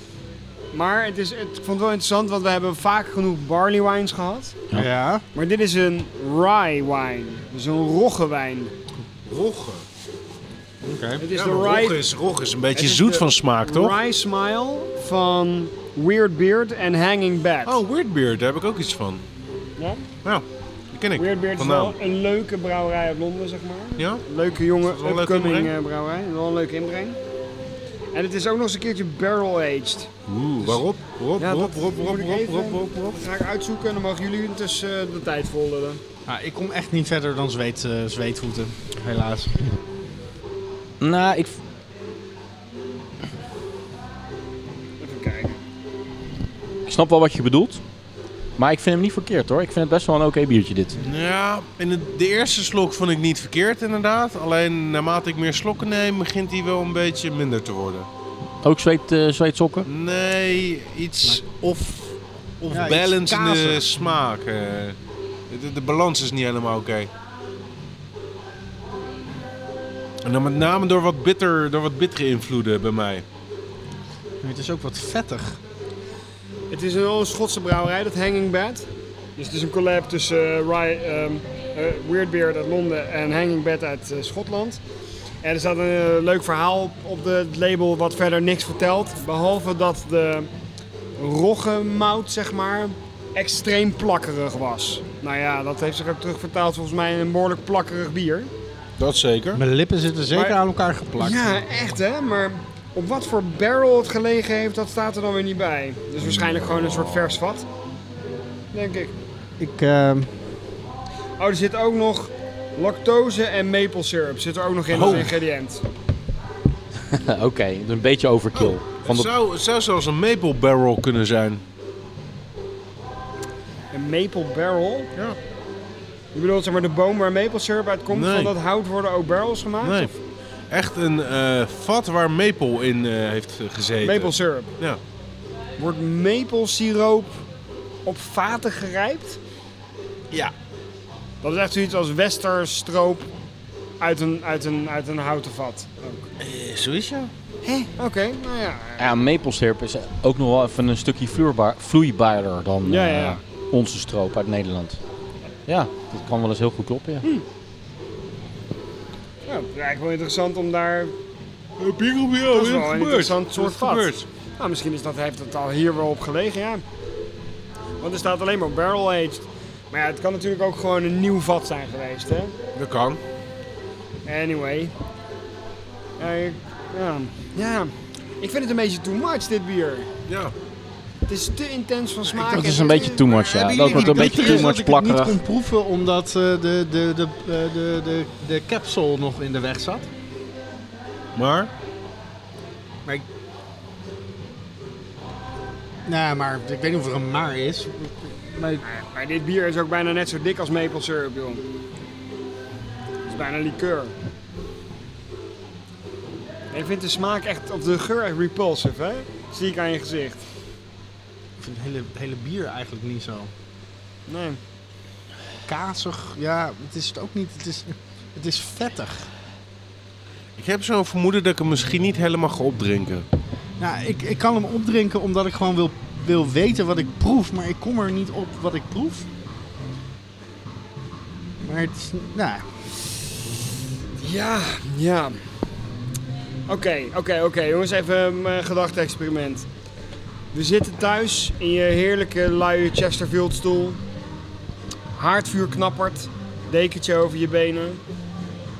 Speaker 5: Maar het is, het, ik vond het wel interessant, want we hebben vaak genoeg barley wines gehad.
Speaker 1: Ja.
Speaker 2: Ja.
Speaker 5: Maar dit is een rye wine. Dus een roggewijn.
Speaker 3: Rogge.
Speaker 5: Het is
Speaker 3: Ja,
Speaker 5: de
Speaker 3: maar
Speaker 5: rye,
Speaker 3: rogge is, rogge is een beetje
Speaker 5: Het is
Speaker 3: zoet
Speaker 5: de
Speaker 3: van smaak, toch?
Speaker 5: rye smile van Weird Beard en Hanging Bad.
Speaker 3: Oh, Weird Beard, daar heb ik ook iets van.
Speaker 5: Ja?
Speaker 3: Ja, die ken ik.
Speaker 5: Weird Beard is
Speaker 3: vandaan.
Speaker 5: wel een leuke brouwerij uit Londen, zeg maar.
Speaker 3: Ja?
Speaker 5: Leuke jongen,
Speaker 3: Is dat wel een leuke
Speaker 5: upcoming
Speaker 3: inbreng?
Speaker 5: eh, brouwerij. Wel een leuke inbreng. En het is ook nog eens een keertje barrel-aged.
Speaker 3: Oeh, waarop? Rob,
Speaker 5: Ja,
Speaker 3: Rob,
Speaker 5: dat
Speaker 3: Rob,
Speaker 5: moet
Speaker 3: Rob,
Speaker 5: ik
Speaker 3: Rob,
Speaker 5: even-
Speaker 3: Rob, Rob, Rob.
Speaker 5: Dat ga ik uitzoeken en dan mogen jullie intussen eh, de tijd volderen.
Speaker 2: Ah, ik kom echt niet verder dan zweet, eh, zweetvoeten, helaas.
Speaker 1: Nou, ik...
Speaker 5: Even kijken.
Speaker 1: ik snap wel wat je bedoelt. Maar ik vind hem niet verkeerd hoor. Ik vind het best wel een oké biertje dit.
Speaker 3: Ja, in de, de eerste slok vond ik niet verkeerd inderdaad. Alleen naarmate ik meer slokken neem, begint hij wel een beetje minder te worden.
Speaker 1: Ook zweet, eh, zweetsokken? <laughs>
Speaker 3: Nee, iets of, of
Speaker 2: Ja, iets
Speaker 3: balance in de
Speaker 2: kazig.
Speaker 3: smaak. eh. De, de balans is niet helemaal oké. En dan met name door wat, bitter, door wat bittere invloeden bij mij.
Speaker 2: Het is ook wat vettig.
Speaker 5: Het is een, een Schotse brouwerij, dat Hanging Bad. Dus het is een collab tussen eh, Rye, ehm, eh, Weird Beard uit Londen en Hanging Bad uit eh, Schotland. En er staat een eh, leuk verhaal op, op de, het label wat verder niks vertelt. Behalve dat de roggenmout, zeg maar, extreem plakkerig was. Nou ja, dat heeft zich ook terugvertaald volgens mij in een behoorlijk plakkerig bier.
Speaker 3: Dat zeker.
Speaker 2: Mijn lippen zitten zeker
Speaker 5: Maar-
Speaker 2: aan elkaar geplakt.
Speaker 5: Ja, echt hè, maar op wat voor barrel het gelegen heeft, dat staat er dan weer niet bij. Dus waarschijnlijk gewoon een soort vers vat, denk ik.
Speaker 2: Ik, eh,
Speaker 5: Oh, er zit ook nog lactose en maple syrup. Zit er ook nog in als
Speaker 1: Oh.
Speaker 5: ingrediënt.
Speaker 1: Oké, een beetje overkill. Van
Speaker 3: het,
Speaker 1: de...
Speaker 3: zou, het zou zelfs een maple barrel kunnen zijn.
Speaker 5: Een maple barrel?
Speaker 3: Ja.
Speaker 5: Je bedoelt zeg maar de boom waar maple syrup uit komt?
Speaker 3: Nee.
Speaker 5: Van dat hout worden ook barrels gemaakt?
Speaker 3: Nee.
Speaker 5: Of
Speaker 3: Echt een eh, vat waar maple in eh, heeft gezeten.
Speaker 5: maple syrup.
Speaker 3: Ja.
Speaker 5: Wordt maple siroop op vaten gerijpt?
Speaker 3: Ja.
Speaker 5: Dat is echt zoiets als westerstroop uit een, uit een, uit een houten vat. ook.
Speaker 3: Zo is ja.
Speaker 5: Oké, nou ja.
Speaker 1: Ja, maple syrup is ook nog wel even een stukje vloeibaar, vloeibaarder dan
Speaker 5: Ja, ja, ja.
Speaker 1: eh, onze stroop uit Nederland. Ja, dat kan wel eens heel goed kloppen, ja.
Speaker 5: Ja, het is eigenlijk wel interessant om daar...
Speaker 3: Piegel, ja,
Speaker 5: Dat is
Speaker 3: het
Speaker 5: wel een
Speaker 3: gebeurt.
Speaker 5: interessant soort
Speaker 3: Het
Speaker 5: vat.
Speaker 3: gebeurt.
Speaker 5: Nou, misschien is dat, heeft het al hier wel op gelegen, ja. Want er staat alleen maar barrel aged. Maar ja, het kan natuurlijk ook gewoon een nieuw vat zijn geweest, hè.
Speaker 3: Dat kan.
Speaker 5: Anyway. Ja, ik- ja. ja. ik vind het een beetje too much, dit bier.
Speaker 3: Ja.
Speaker 5: Het is te intens van smaak.
Speaker 1: Dat
Speaker 5: en
Speaker 1: is een
Speaker 5: te-
Speaker 1: beetje too much, ja.
Speaker 2: hebben
Speaker 1: Dat
Speaker 2: jullie
Speaker 1: wordt een beetje
Speaker 2: niet bitter
Speaker 1: too
Speaker 2: is
Speaker 1: much
Speaker 2: Dat ik het
Speaker 1: plakkerig.
Speaker 2: niet kon proeven omdat eh, de, de, de, eh, de, de, de capsule nog in de weg zat.
Speaker 3: Maar?
Speaker 2: Nee, Nou, maar ik weet niet of er een maar is. Maar
Speaker 5: Maar Nou dit bier is ook bijna net zo dik als maple syrup, joh. Het is bijna liqueur. Ik vind de smaak echt, of de geur echt repulsive, hè? Zie ik aan je gezicht.
Speaker 2: ik vind het hele, hele bier eigenlijk niet zo.
Speaker 5: Nee.
Speaker 2: Kazig, ja, het is het ook niet. Het is, het is vettig.
Speaker 3: Ik heb zo'n vermoeden dat ik hem misschien niet helemaal ga opdrinken.
Speaker 2: Nou, ik, ik kan hem opdrinken omdat ik gewoon wil, wil weten wat ik proef, maar ik kom er niet op wat ik proef. Maar het is, nou,
Speaker 5: Ja, ja. Oké, oké, oké. Jongens, even een eh, gedachte-experiment. We zitten thuis in je heerlijke luie Chesterfield-stoel. Haardvuur knappert. Dekentje over je benen.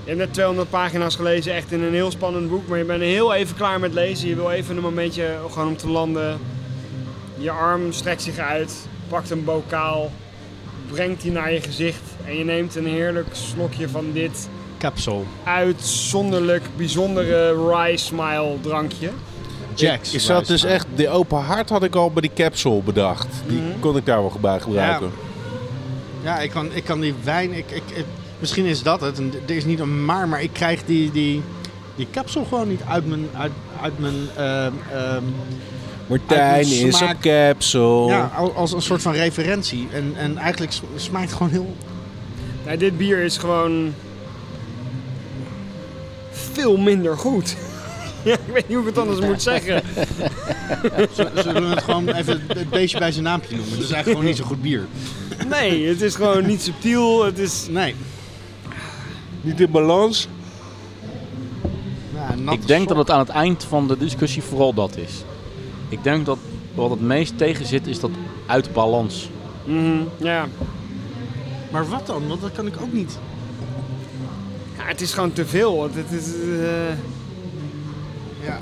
Speaker 5: Je hebt net 200 pagina's gelezen, echt in een heel spannend boek. Maar je bent heel even klaar met lezen. Je wil even een momentje gewoon om te landen. Je arm strekt zich uit. Pakt een bokaal. Brengt die naar je gezicht. En je neemt een heerlijk slokje van dit
Speaker 2: capsule.
Speaker 5: uitzonderlijk bijzondere rye smile drankje.
Speaker 2: Jacks.
Speaker 3: Is dat dus echt, de open hart had ik al bij die capsule bedacht. Die kon ik daar wel bij gebruiken.
Speaker 2: Ja, ik kan, ik kan die wijn. Ik, ik, ik- misschien is dat het. En Er is niet een maar, maar ik krijg die, die, die kapsel gewoon niet uit mijn. Uit, uit mijn ehm, ehm,
Speaker 3: Martijn
Speaker 2: Uit mijn
Speaker 3: is een
Speaker 2: smaak-
Speaker 3: capsule.
Speaker 2: ja, al- als een soort van referentie. En, en eigenlijk sm- smaakt het gewoon heel.
Speaker 5: Nou, dit bier is gewoon veel minder goed. <laughs> ja, ik weet niet hoe ik het anders moet zeggen.
Speaker 2: Zullen we het gewoon even het beestje bij zijn naampje noemen? Het is eigenlijk gewoon niet zo goed bier.
Speaker 5: Nee, het is gewoon niet subtiel. Het is
Speaker 2: Nee.
Speaker 3: Niet in balans.
Speaker 2: Ja, natte
Speaker 1: Ik denk dat
Speaker 2: sok.
Speaker 1: het aan het eind van de discussie vooral dat is. Ik denk dat wat het meest tegen zit is dat uit balans.
Speaker 5: Mhm, ja.
Speaker 2: Maar wat dan? Want dat kan ik ook niet.
Speaker 5: ja, het is gewoon te veel. want Het is eh,
Speaker 2: Ja.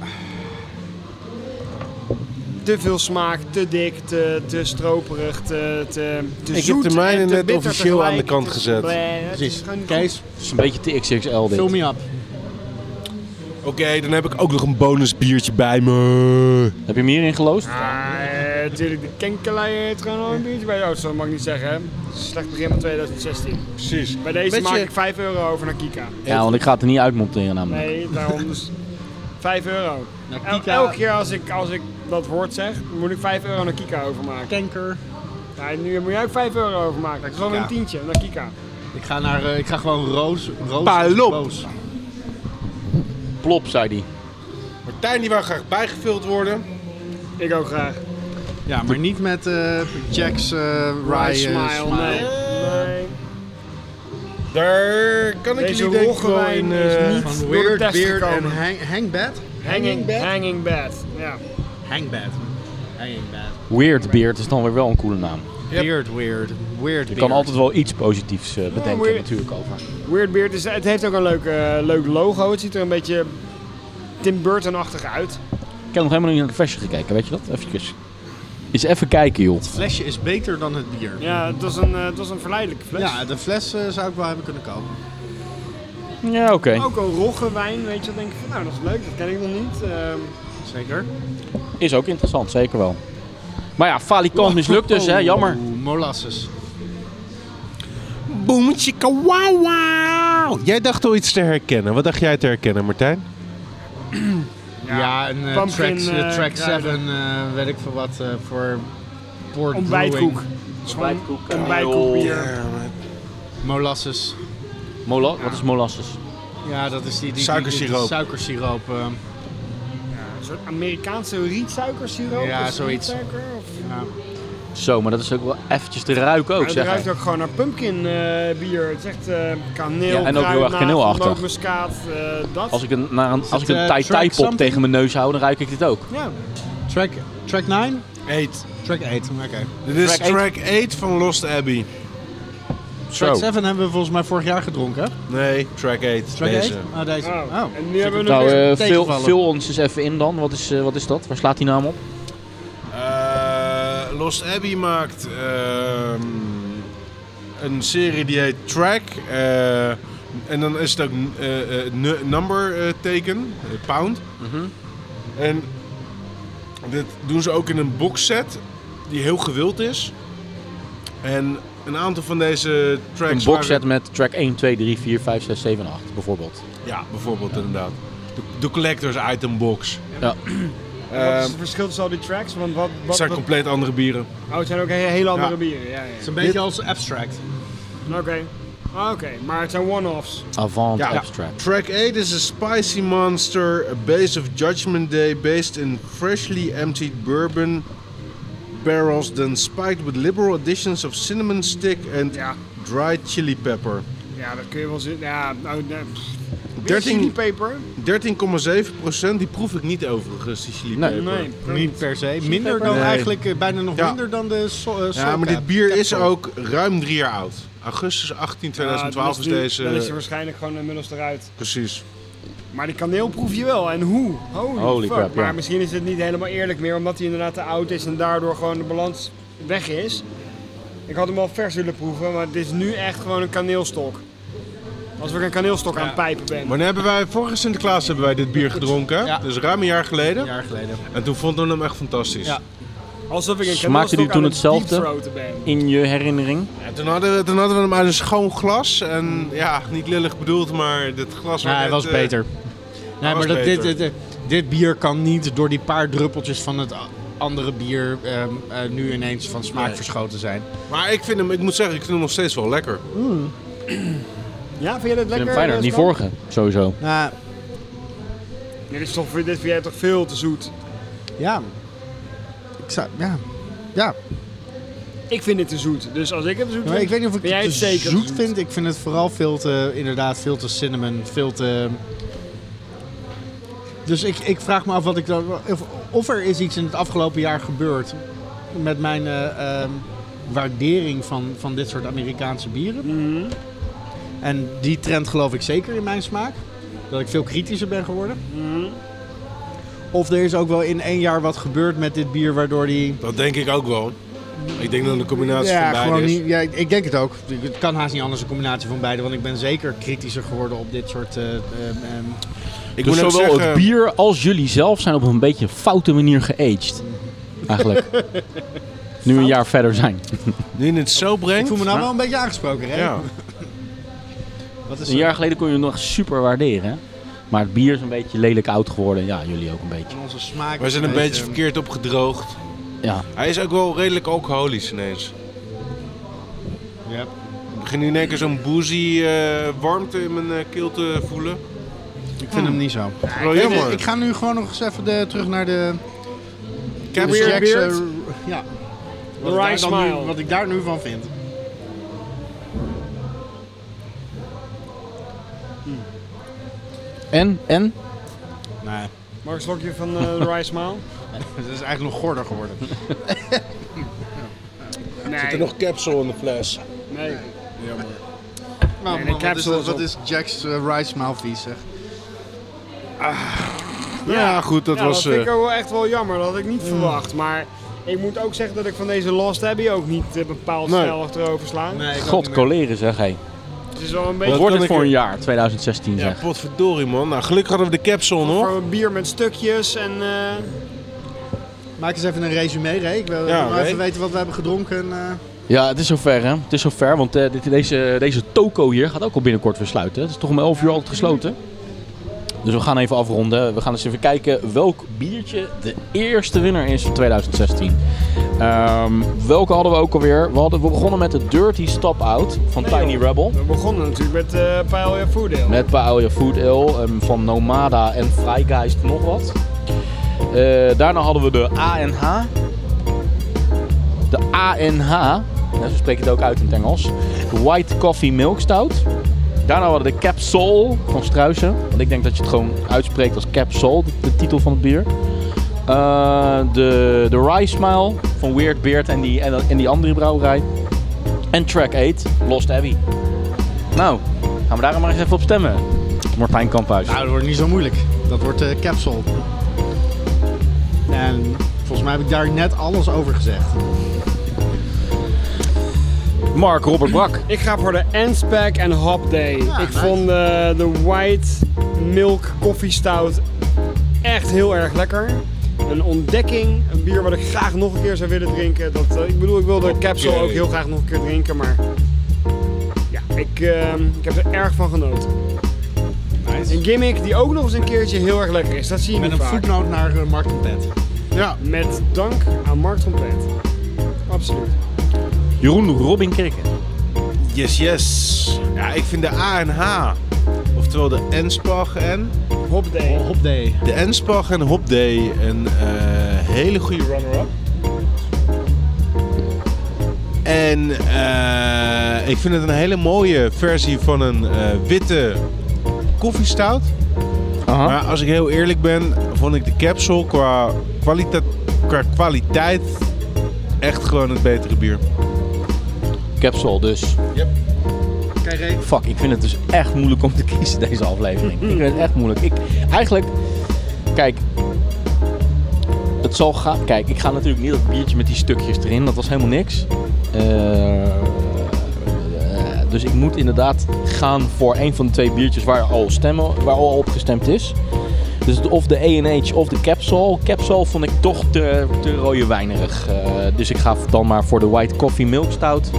Speaker 5: te veel smaak, te dik, te, te stroperig, te, te, te
Speaker 3: Ik heb
Speaker 5: zoet
Speaker 3: de mijne
Speaker 5: en te
Speaker 3: net
Speaker 5: bitter
Speaker 3: officieel aan de
Speaker 5: tegelijk.
Speaker 3: kant
Speaker 5: Het is-
Speaker 3: gezet.
Speaker 5: bleh, het is
Speaker 2: Precies.
Speaker 5: gewoon niet
Speaker 2: Kees,
Speaker 1: Het is een beetje te XXL dit.
Speaker 2: fill me up.
Speaker 3: Oké, dan heb ik ook nog een bonus biertje bij me.
Speaker 1: Heb je hem hierin geloosd?
Speaker 5: eh, Natuurlijk, de kenkelei heeft gewoon al een biertje bij jou, dat mag ik niet zeggen. Hè? Slecht begin van 2016.
Speaker 3: Precies.
Speaker 5: Bij deze
Speaker 3: Beetje-
Speaker 5: maak ik 5 euro over naar Kika.
Speaker 1: Ja, want ik ga het er niet uitmonteren namelijk.
Speaker 5: Nee, daarom dus 5 euro.
Speaker 2: Nou,
Speaker 5: El-
Speaker 2: Kika-
Speaker 5: elke keer als ik, als ik dat woord zeg, moet ik 5 euro naar Kika overmaken.
Speaker 2: Kanker.
Speaker 5: Ja, nu moet jij ook 5 euro overmaken. Dat is gewoon weer een
Speaker 2: Kika.
Speaker 5: tientje naar Kika.
Speaker 2: Ik ga, naar, eh, ik ga gewoon roos. roos
Speaker 3: Palop.
Speaker 2: roos.
Speaker 1: plop, zei hij.
Speaker 3: Martijn die wou graag bijgevuld worden.
Speaker 5: Ik ook graag.
Speaker 2: Ja, maar niet met eh Jack's eh Rye
Speaker 5: Rice
Speaker 2: eh,
Speaker 5: smile, nee. nee.
Speaker 3: Daar kan ik
Speaker 5: Deze
Speaker 3: jullie denk ik wel
Speaker 5: Roggewijn
Speaker 3: in...
Speaker 5: is
Speaker 3: eh,
Speaker 5: niet-
Speaker 2: Van
Speaker 5: Door de
Speaker 2: Weird
Speaker 5: test
Speaker 2: Beard en
Speaker 5: gekomen.
Speaker 2: hang, Hangbad?
Speaker 5: Hanging bed. Hanging bed. Ja.
Speaker 2: Hangbad. Hangbad.
Speaker 1: Weirdbeard is dan weer wel een coole naam.
Speaker 2: Weird, weird. Weird
Speaker 1: Je
Speaker 2: beard.
Speaker 1: kan altijd wel iets positiefs eh, bedenken
Speaker 5: weird.
Speaker 1: natuurlijk over.
Speaker 5: Weird Beard is, het heeft ook een leuk, eh, leuk logo. Het ziet er een beetje Tim Burton-achtig uit.
Speaker 1: Ik heb nog helemaal niet naar de flesje gekeken, weet je dat? Even. Eens even kijken, joh.
Speaker 2: Het flesje is beter dan het bier.
Speaker 5: Ja, het was een, eh, het was een verleidelijke fles.
Speaker 2: Ja, de fles eh, zou ik wel hebben kunnen kopen.
Speaker 1: Ja, oké.
Speaker 5: Ook een roggewijn, weet je, dan denk ik van, nou dat is leuk, dat ken ik nog niet. Ehm,
Speaker 2: Zeker.
Speaker 1: Is ook interessant, zeker wel. Maar ja, Falikant mislukt dus, hè? Jammer.
Speaker 2: Oeh, molasses.
Speaker 3: Boemetje wow. Jij dacht al iets te herkennen. Wat dacht jij te herkennen, Martijn?
Speaker 2: Ja, en eh,
Speaker 5: pumpkin,
Speaker 2: track, eh,
Speaker 5: eh,
Speaker 2: track
Speaker 5: kruiden.
Speaker 2: 7, eh, weet ik veel wat, eh, voor port
Speaker 5: ontbijtkoek.
Speaker 2: brewing.
Speaker 1: Ontbijtkoek.
Speaker 5: Ontbijtkoekbier.
Speaker 2: Molasses.
Speaker 1: Mola wat is molasses?
Speaker 2: Ja, dat is die... die
Speaker 3: Suikersiroop.
Speaker 2: die- die suikersiroop. eh,
Speaker 5: Een soort Amerikaanse rietsuikersiroop.
Speaker 2: Ja,
Speaker 5: is het
Speaker 2: zoiets.
Speaker 5: rietsuiker of-
Speaker 2: ja.
Speaker 1: Zo, maar dat is ook wel eventjes te ruiken ook,
Speaker 5: Maar het
Speaker 1: zeg.
Speaker 5: ruikt
Speaker 1: hè.
Speaker 5: ook gewoon naar pumpkin eh, bier. Het is echt eh,
Speaker 1: Ja, en
Speaker 5: kaneel,
Speaker 1: ook heel
Speaker 5: kruidnaad,
Speaker 1: erg kaneelachtig.
Speaker 5: nootmuskaat, eh, dat.
Speaker 1: Als ik een, naar een, als ik
Speaker 2: het,
Speaker 1: een
Speaker 2: eh,
Speaker 1: tai
Speaker 2: track
Speaker 1: tai pop
Speaker 2: something?
Speaker 1: tegen mijn neus hou, dan ruik ik dit ook.
Speaker 5: Ja,
Speaker 2: Track, track 9?
Speaker 3: 8.
Speaker 2: Track 8, oké.
Speaker 3: Dit is
Speaker 1: Track eight.
Speaker 3: track 8 van Lost Abbey.
Speaker 1: Zo.
Speaker 2: Track 7 hebben we volgens mij vorig jaar gedronken, hè?
Speaker 3: Nee, track 8.
Speaker 2: Track
Speaker 3: deze.
Speaker 2: 8? Ah, deze.
Speaker 5: oh.
Speaker 2: Oh.
Speaker 5: en nu hebben we nog
Speaker 1: Nou,
Speaker 5: weer...
Speaker 1: eh, vul,
Speaker 2: tegenvallen.
Speaker 1: vul ons eens even in dan. Wat is, eh, wat is dat? Waar slaat die naam op?
Speaker 3: Eh, Lost Abbey maakt ehm, een serie die heet Track. eh, en dan is het ook eh, eh, nu- number eh, teken, eh, pound.
Speaker 1: Mhm.
Speaker 3: En dit doen ze ook in een boxset die heel gewild is. En een aantal van deze tracks...
Speaker 1: Een
Speaker 3: waren-
Speaker 1: boxset met track 1, 2, 3, 4, 5, 6, 7, 8 bijvoorbeeld.
Speaker 3: Ja, bijvoorbeeld inderdaad. De, de collectors item box.
Speaker 1: Ja.
Speaker 5: wat
Speaker 3: Ehm,
Speaker 1: eh,
Speaker 5: is het verschil tussen al die tracks? Want wat,
Speaker 3: het
Speaker 5: wat,
Speaker 3: zijn
Speaker 5: wat-
Speaker 3: compleet andere bieren.
Speaker 5: oh, het zijn ook he- hele andere
Speaker 3: Ja.
Speaker 5: bieren. Ja, ja.
Speaker 2: Het is een beetje als abstract.
Speaker 5: Oké. Ah, Oké, maar het zijn one-offs.
Speaker 1: Avant
Speaker 3: Ja.
Speaker 1: abstract.
Speaker 3: Track 8 is a spicy monster, a base of Judgment Day based in freshly emptied bourbon barrels, then spiked with liberal additions of cinnamon stick and
Speaker 5: Ja.
Speaker 3: dried chili pepper.
Speaker 5: Ja, dat kun je wel zien. Ja, nou, nee. pff. Weer
Speaker 3: 13.
Speaker 5: chili paper?
Speaker 3: 13,7% die proef ik niet overigens, die chili
Speaker 1: Nee.
Speaker 3: pepper.
Speaker 5: Nee.
Speaker 2: Niet per se. Minder dan
Speaker 3: Nee.
Speaker 2: eigenlijk, eh, bijna nog
Speaker 3: Ja.
Speaker 2: minder dan de so eh,
Speaker 3: Ja,
Speaker 2: Soulcap.
Speaker 3: maar dit bier is
Speaker 2: Capsule.
Speaker 3: ook ruim drie jaar oud. Augustus 18,
Speaker 5: Ja, dan
Speaker 3: 2012 is
Speaker 5: die-
Speaker 3: deze.
Speaker 5: Dan is hij waarschijnlijk gewoon inmiddels eruit.
Speaker 3: Precies.
Speaker 5: Maar die kaneel proef je wel. En hoe? Holy,
Speaker 1: Holy
Speaker 5: fuck.
Speaker 1: crap, ja.
Speaker 5: maar misschien is het niet helemaal eerlijk meer, omdat hij inderdaad te oud is en daardoor gewoon de balans weg is. Ik had hem wel vers willen proeven, maar het is nu echt gewoon een kaneelstok. Als ik een kaneelstok aan het pijpen ben.
Speaker 3: Wanneer hebben wij, vorige Sinterklaas hebben wij dit bier gedronken,
Speaker 2: Ja.
Speaker 3: dus ruim een jaar geleden.
Speaker 2: Een jaar geleden.
Speaker 3: En toen vonden we hem echt fantastisch.
Speaker 2: Ja.
Speaker 5: Alsof ik een
Speaker 1: Smaakte die
Speaker 5: kaneelstok aan
Speaker 1: toen
Speaker 5: het
Speaker 1: hetzelfde?
Speaker 5: deepthroaten ben.
Speaker 1: In je herinnering?
Speaker 3: Ja, toen, hadden we, toen hadden we hem uit een schoon glas. En ja, niet lillig bedoeld, maar dit glas
Speaker 2: Ja, hij
Speaker 3: net,
Speaker 2: was
Speaker 3: eh,
Speaker 2: beter. Nee,
Speaker 3: was
Speaker 2: maar dat, dit,
Speaker 3: beter.
Speaker 2: dit, dit bier kan niet door die paar druppeltjes van het a- andere bier ehm, eh, nu ineens van smaak
Speaker 3: Nee.
Speaker 2: verschoten zijn.
Speaker 3: Maar ik vind hem, ik moet zeggen, ik vind hem nog steeds wel lekker.
Speaker 5: Ja,
Speaker 1: Ik
Speaker 5: vind je dat
Speaker 1: vind
Speaker 5: lekker?
Speaker 1: hem fijner,
Speaker 5: eh,
Speaker 1: die
Speaker 5: Stan?
Speaker 1: vorige sowieso.
Speaker 2: Nou,
Speaker 5: Dit, is toch, dit vind jij toch veel te zoet?
Speaker 2: ja. Ik zou, ja. Ja,
Speaker 5: Ik vind dit te zoet, dus als ik het te zoet
Speaker 2: maar
Speaker 5: vind,
Speaker 2: ik weet niet of ik
Speaker 5: vind jij
Speaker 2: het
Speaker 5: het
Speaker 2: te
Speaker 5: zeker te
Speaker 2: zoet vind. Ik vind het vooral veel te, inderdaad, veel te cinnamon, veel te... Dus ik, ik vraag me af wat ik dan, of, of er is iets in het afgelopen jaar gebeurd met mijn eh, ehm, waardering van, van dit soort Amerikaanse bieren.
Speaker 5: Mhm.
Speaker 2: En die trend geloof ik zeker in mijn smaak. Dat ik veel kritischer ben geworden.
Speaker 5: Mhm.
Speaker 2: Of er is ook wel in één jaar wat gebeurd met dit bier waardoor die...
Speaker 3: Dat denk ik ook wel. Ik denk dat de combinatie van beide is.
Speaker 2: niet, ja, ik- ik denk het ook. Het kan haast niet anders een combinatie van beide. Want ik ben zeker kritischer geworden op dit soort... eh, ehm, ehm,
Speaker 3: Ik
Speaker 1: Dus
Speaker 3: moet ook
Speaker 1: zowel
Speaker 3: zeggen,
Speaker 1: het bier als jullie zelf zijn op een beetje een foute manier geaged. <laughs> Eigenlijk. nu een jaar verder zijn.
Speaker 3: nu in het zo brengt.
Speaker 2: ik voel me nou wel een beetje aangesproken, hè?
Speaker 3: Ja.
Speaker 2: Wat is
Speaker 1: Een jaar geleden kon je het nog super waarderen. Hè? Maar het bier is een beetje lelijk oud geworden. Ja, jullie ook een beetje.
Speaker 2: van onze smaak?
Speaker 3: We zijn een
Speaker 2: eh,
Speaker 3: beetje verkeerd opgedroogd.
Speaker 1: Ja.
Speaker 3: Hij is ook wel redelijk alcoholisch ineens.
Speaker 2: Ja.
Speaker 3: Ik begin nu in één keer zo'n boozy eh, warmte in mijn eh, keel te voelen.
Speaker 2: Ik vind hem niet zo.
Speaker 3: Wel
Speaker 2: Ik,
Speaker 3: jammer.
Speaker 2: ik ga nu gewoon nog eens even de, terug naar de
Speaker 3: Cab
Speaker 2: Miss
Speaker 3: Jack-
Speaker 2: Jack's,
Speaker 5: Beard?
Speaker 2: eh, r- ja. Wat ik,
Speaker 5: Rye
Speaker 2: daar dan
Speaker 5: smile.
Speaker 2: nu, wat ik daar nu van vind.
Speaker 1: En? En?
Speaker 2: Nee,
Speaker 5: Mag ik een slokje van eh, <laughs> de Rice Smile?
Speaker 2: <laughs> het is eigenlijk nog gorder <laughs> geworden.
Speaker 3: Zit er nog capsule in de fles?
Speaker 5: Nee.
Speaker 2: Nou,
Speaker 5: de
Speaker 2: man, wat, is,
Speaker 5: capsule
Speaker 2: dat-
Speaker 5: is
Speaker 2: wat
Speaker 5: op.
Speaker 2: is Jack's eh, rice mouthpiece zeg.
Speaker 3: Ja, goed, dat
Speaker 5: Ah. ja,
Speaker 3: was...
Speaker 5: dat vind ik
Speaker 3: eh,
Speaker 5: ook wel echt wel jammer. Dat had ik niet verwacht. Maar ik moet ook zeggen dat ik van deze Lost Abbey ook niet eh, bepaald
Speaker 3: Nee.
Speaker 5: snel achterover sla.
Speaker 1: God, coleren zeg, hé.
Speaker 5: Het is wel een
Speaker 1: Wat
Speaker 5: beetje
Speaker 1: wordt
Speaker 3: kan
Speaker 1: het
Speaker 3: ik-
Speaker 1: voor een jaar, 2016
Speaker 3: ja,
Speaker 1: zeg.
Speaker 3: potverdorie man. Nou, gelukkig hadden we de capsule nog.
Speaker 5: voor een bier met stukjes en... eh,
Speaker 2: Maak eens even een resume, Ray. Ik wil
Speaker 3: Ja,
Speaker 2: ik wil
Speaker 3: Ray.
Speaker 2: even weten wat we hebben gedronken. eh.
Speaker 1: Ja, het is zover hè. Het is zover, want eh, dit, deze, deze toko hier gaat ook al binnenkort weer sluiten. Het is toch om 11 uur altijd gesloten. Dus we gaan even afronden. We gaan eens even kijken welk biertje de eerste winnaar is van 2016. Ehm, welke hadden we ook alweer? We, hadden, we begonnen met de Dirty Stop Out van
Speaker 5: Nee,
Speaker 1: Tiny
Speaker 5: joh.
Speaker 1: Rebel.
Speaker 5: We begonnen natuurlijk met eh Paella Food Ale.
Speaker 1: Met Paella Food Ale ehm, van Nomada en Freigeist nog wat. Eh, daarna hadden we de ANH. De ANH, nou, zo spreek je het ook uit in het Engels. White Coffee Milk Stout. Daarna hadden we de Capsule van Struisen. Want ik denk dat je het gewoon uitspreekt als Capsule, de, de titel van het bier. Eh, de, de Rye Smile van Weird Beard en die, en, en die andere brouwerij. En track 8, Lost Abbey. Nou, gaan we daar maar eens even op stemmen. Martijn Kamphuis.
Speaker 2: Nou, dat wordt niet zo moeilijk. Dat wordt eh capsule. En volgens mij heb ik daar net alles over gezegd.
Speaker 1: Mark Robert Brak.
Speaker 5: Ik ga voor de Anspec en Hop Day. ik
Speaker 2: Ah, nice.
Speaker 5: vond eh, de White Milk Coffee Stout echt heel erg lekker. Een ontdekking, een bier wat ik graag nog een keer zou willen drinken. Dat, eh, ik bedoel, ik wil de
Speaker 2: Oh,
Speaker 5: capsule ook heel graag nog een keer drinken, maar ja, ik, eh, ik heb er erg van genoten. Een gimmick die ook nog eens een keertje heel erg lekker is, dat zie je
Speaker 2: Met
Speaker 5: niet
Speaker 2: een
Speaker 5: vaak.
Speaker 2: voetnoot naar uh, Mark en Pet.
Speaker 5: Met dank aan Mark Trompet. Absoluut.
Speaker 1: Jeroen Robin Kerken.
Speaker 3: Yes, yes. Ja, ik vind de A en H. Oftewel de Enspach en...
Speaker 5: Hop Day.
Speaker 2: Hop day.
Speaker 3: De Enspach en Hop Day. Een eh, hele goede runner-up. En eh, ik vind het een hele mooie versie van een eh, witte koffiestout. Maar als ik heel eerlijk ben, vond ik de capsule qua, kwalita- qua kwaliteit echt gewoon het betere bier.
Speaker 1: Capsule dus. Fuck, ik vind het dus echt moeilijk om te kiezen deze aflevering. Ik vind het echt moeilijk. Ik, eigenlijk, kijk. Het zal gaan. Kijk, ik ga natuurlijk niet dat biertje met die stukjes erin. Dat was helemaal niks. Eh, eh, dus ik moet inderdaad gaan voor een van de twee biertjes waar al, stemmen, waar al op gestemd is. Dus het- of de A&H of de Capsule. Capsule vond ik toch te, te rode wijnerig. Eh, dus ik ga dan maar voor de White Coffee Milk Stout.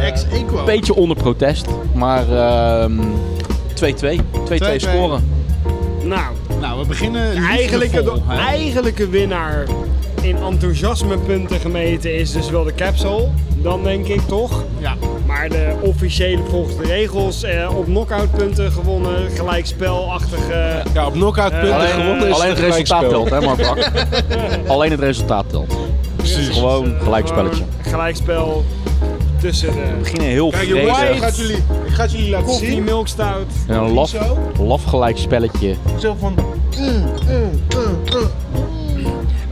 Speaker 2: Ex-equo.
Speaker 1: Beetje onder protest, maar ehm, 2-2. 2-2 scoren.
Speaker 5: Nou,
Speaker 2: Nou, we beginnen
Speaker 5: De eigenlijke,
Speaker 2: liefdevol,
Speaker 5: de
Speaker 2: hè.
Speaker 5: eigenlijke winnaar in enthousiasmepunten gemeten is dus wel de capsule. Dan denk ik toch.
Speaker 2: Ja.
Speaker 5: Maar de officiële volgens de regels eh, op knockoutpunten gewonnen, gelijkspelachtige.
Speaker 3: Ja, op knockout punten
Speaker 5: Alleen-
Speaker 3: gewonnen is
Speaker 1: alleen het resultaat
Speaker 3: gelijkspel.
Speaker 1: telt, hè, Mark Brak?
Speaker 2: <laughs>
Speaker 1: alleen het resultaat telt.
Speaker 3: Precies.
Speaker 1: Gewoon
Speaker 5: eh,
Speaker 1: gelijkspelletje.
Speaker 5: gewoon gelijkspel tussen de
Speaker 1: We beginnen heel
Speaker 3: Kijk jongens, ik ga
Speaker 1: vredig.
Speaker 3: het jullie, ik ga het jullie laten
Speaker 5: koffie,
Speaker 3: zien.
Speaker 5: milk stout.
Speaker 1: En een laf,
Speaker 3: Zo.
Speaker 1: laf gelijk spelletje.
Speaker 3: Zo van,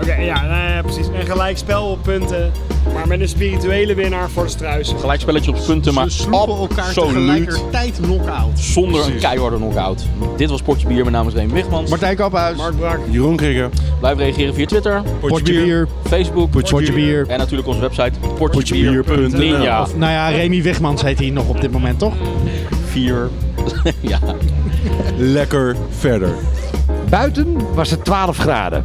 Speaker 5: Oké, ja, nou ja, precies. Een gelijkspel op punten. Maar met een spirituele winnaar voor de struisen.
Speaker 1: Gelijk spelletje op punten, maar
Speaker 2: Ze sloegen elkaar
Speaker 1: absoluut
Speaker 2: tegelijkertijd knock-out.
Speaker 1: zonder een keiharde knock-out. Dit was Portje Bier, mijn naam is Reen Wigmans.
Speaker 2: Martijn Kaphuis.
Speaker 5: Mark Brak.
Speaker 3: Jeroen Krikker,
Speaker 1: Blijf reageren via Twitter,
Speaker 2: Potje bier.
Speaker 1: Facebook,
Speaker 2: Potje bier.
Speaker 1: en natuurlijk onze website portjebier.ninja.
Speaker 2: Nou ja, Remy Wegmans heet hij nog op dit moment, toch?
Speaker 1: <laughs> 4. ja.
Speaker 3: lekker verder.
Speaker 8: Buiten was het 12 graden.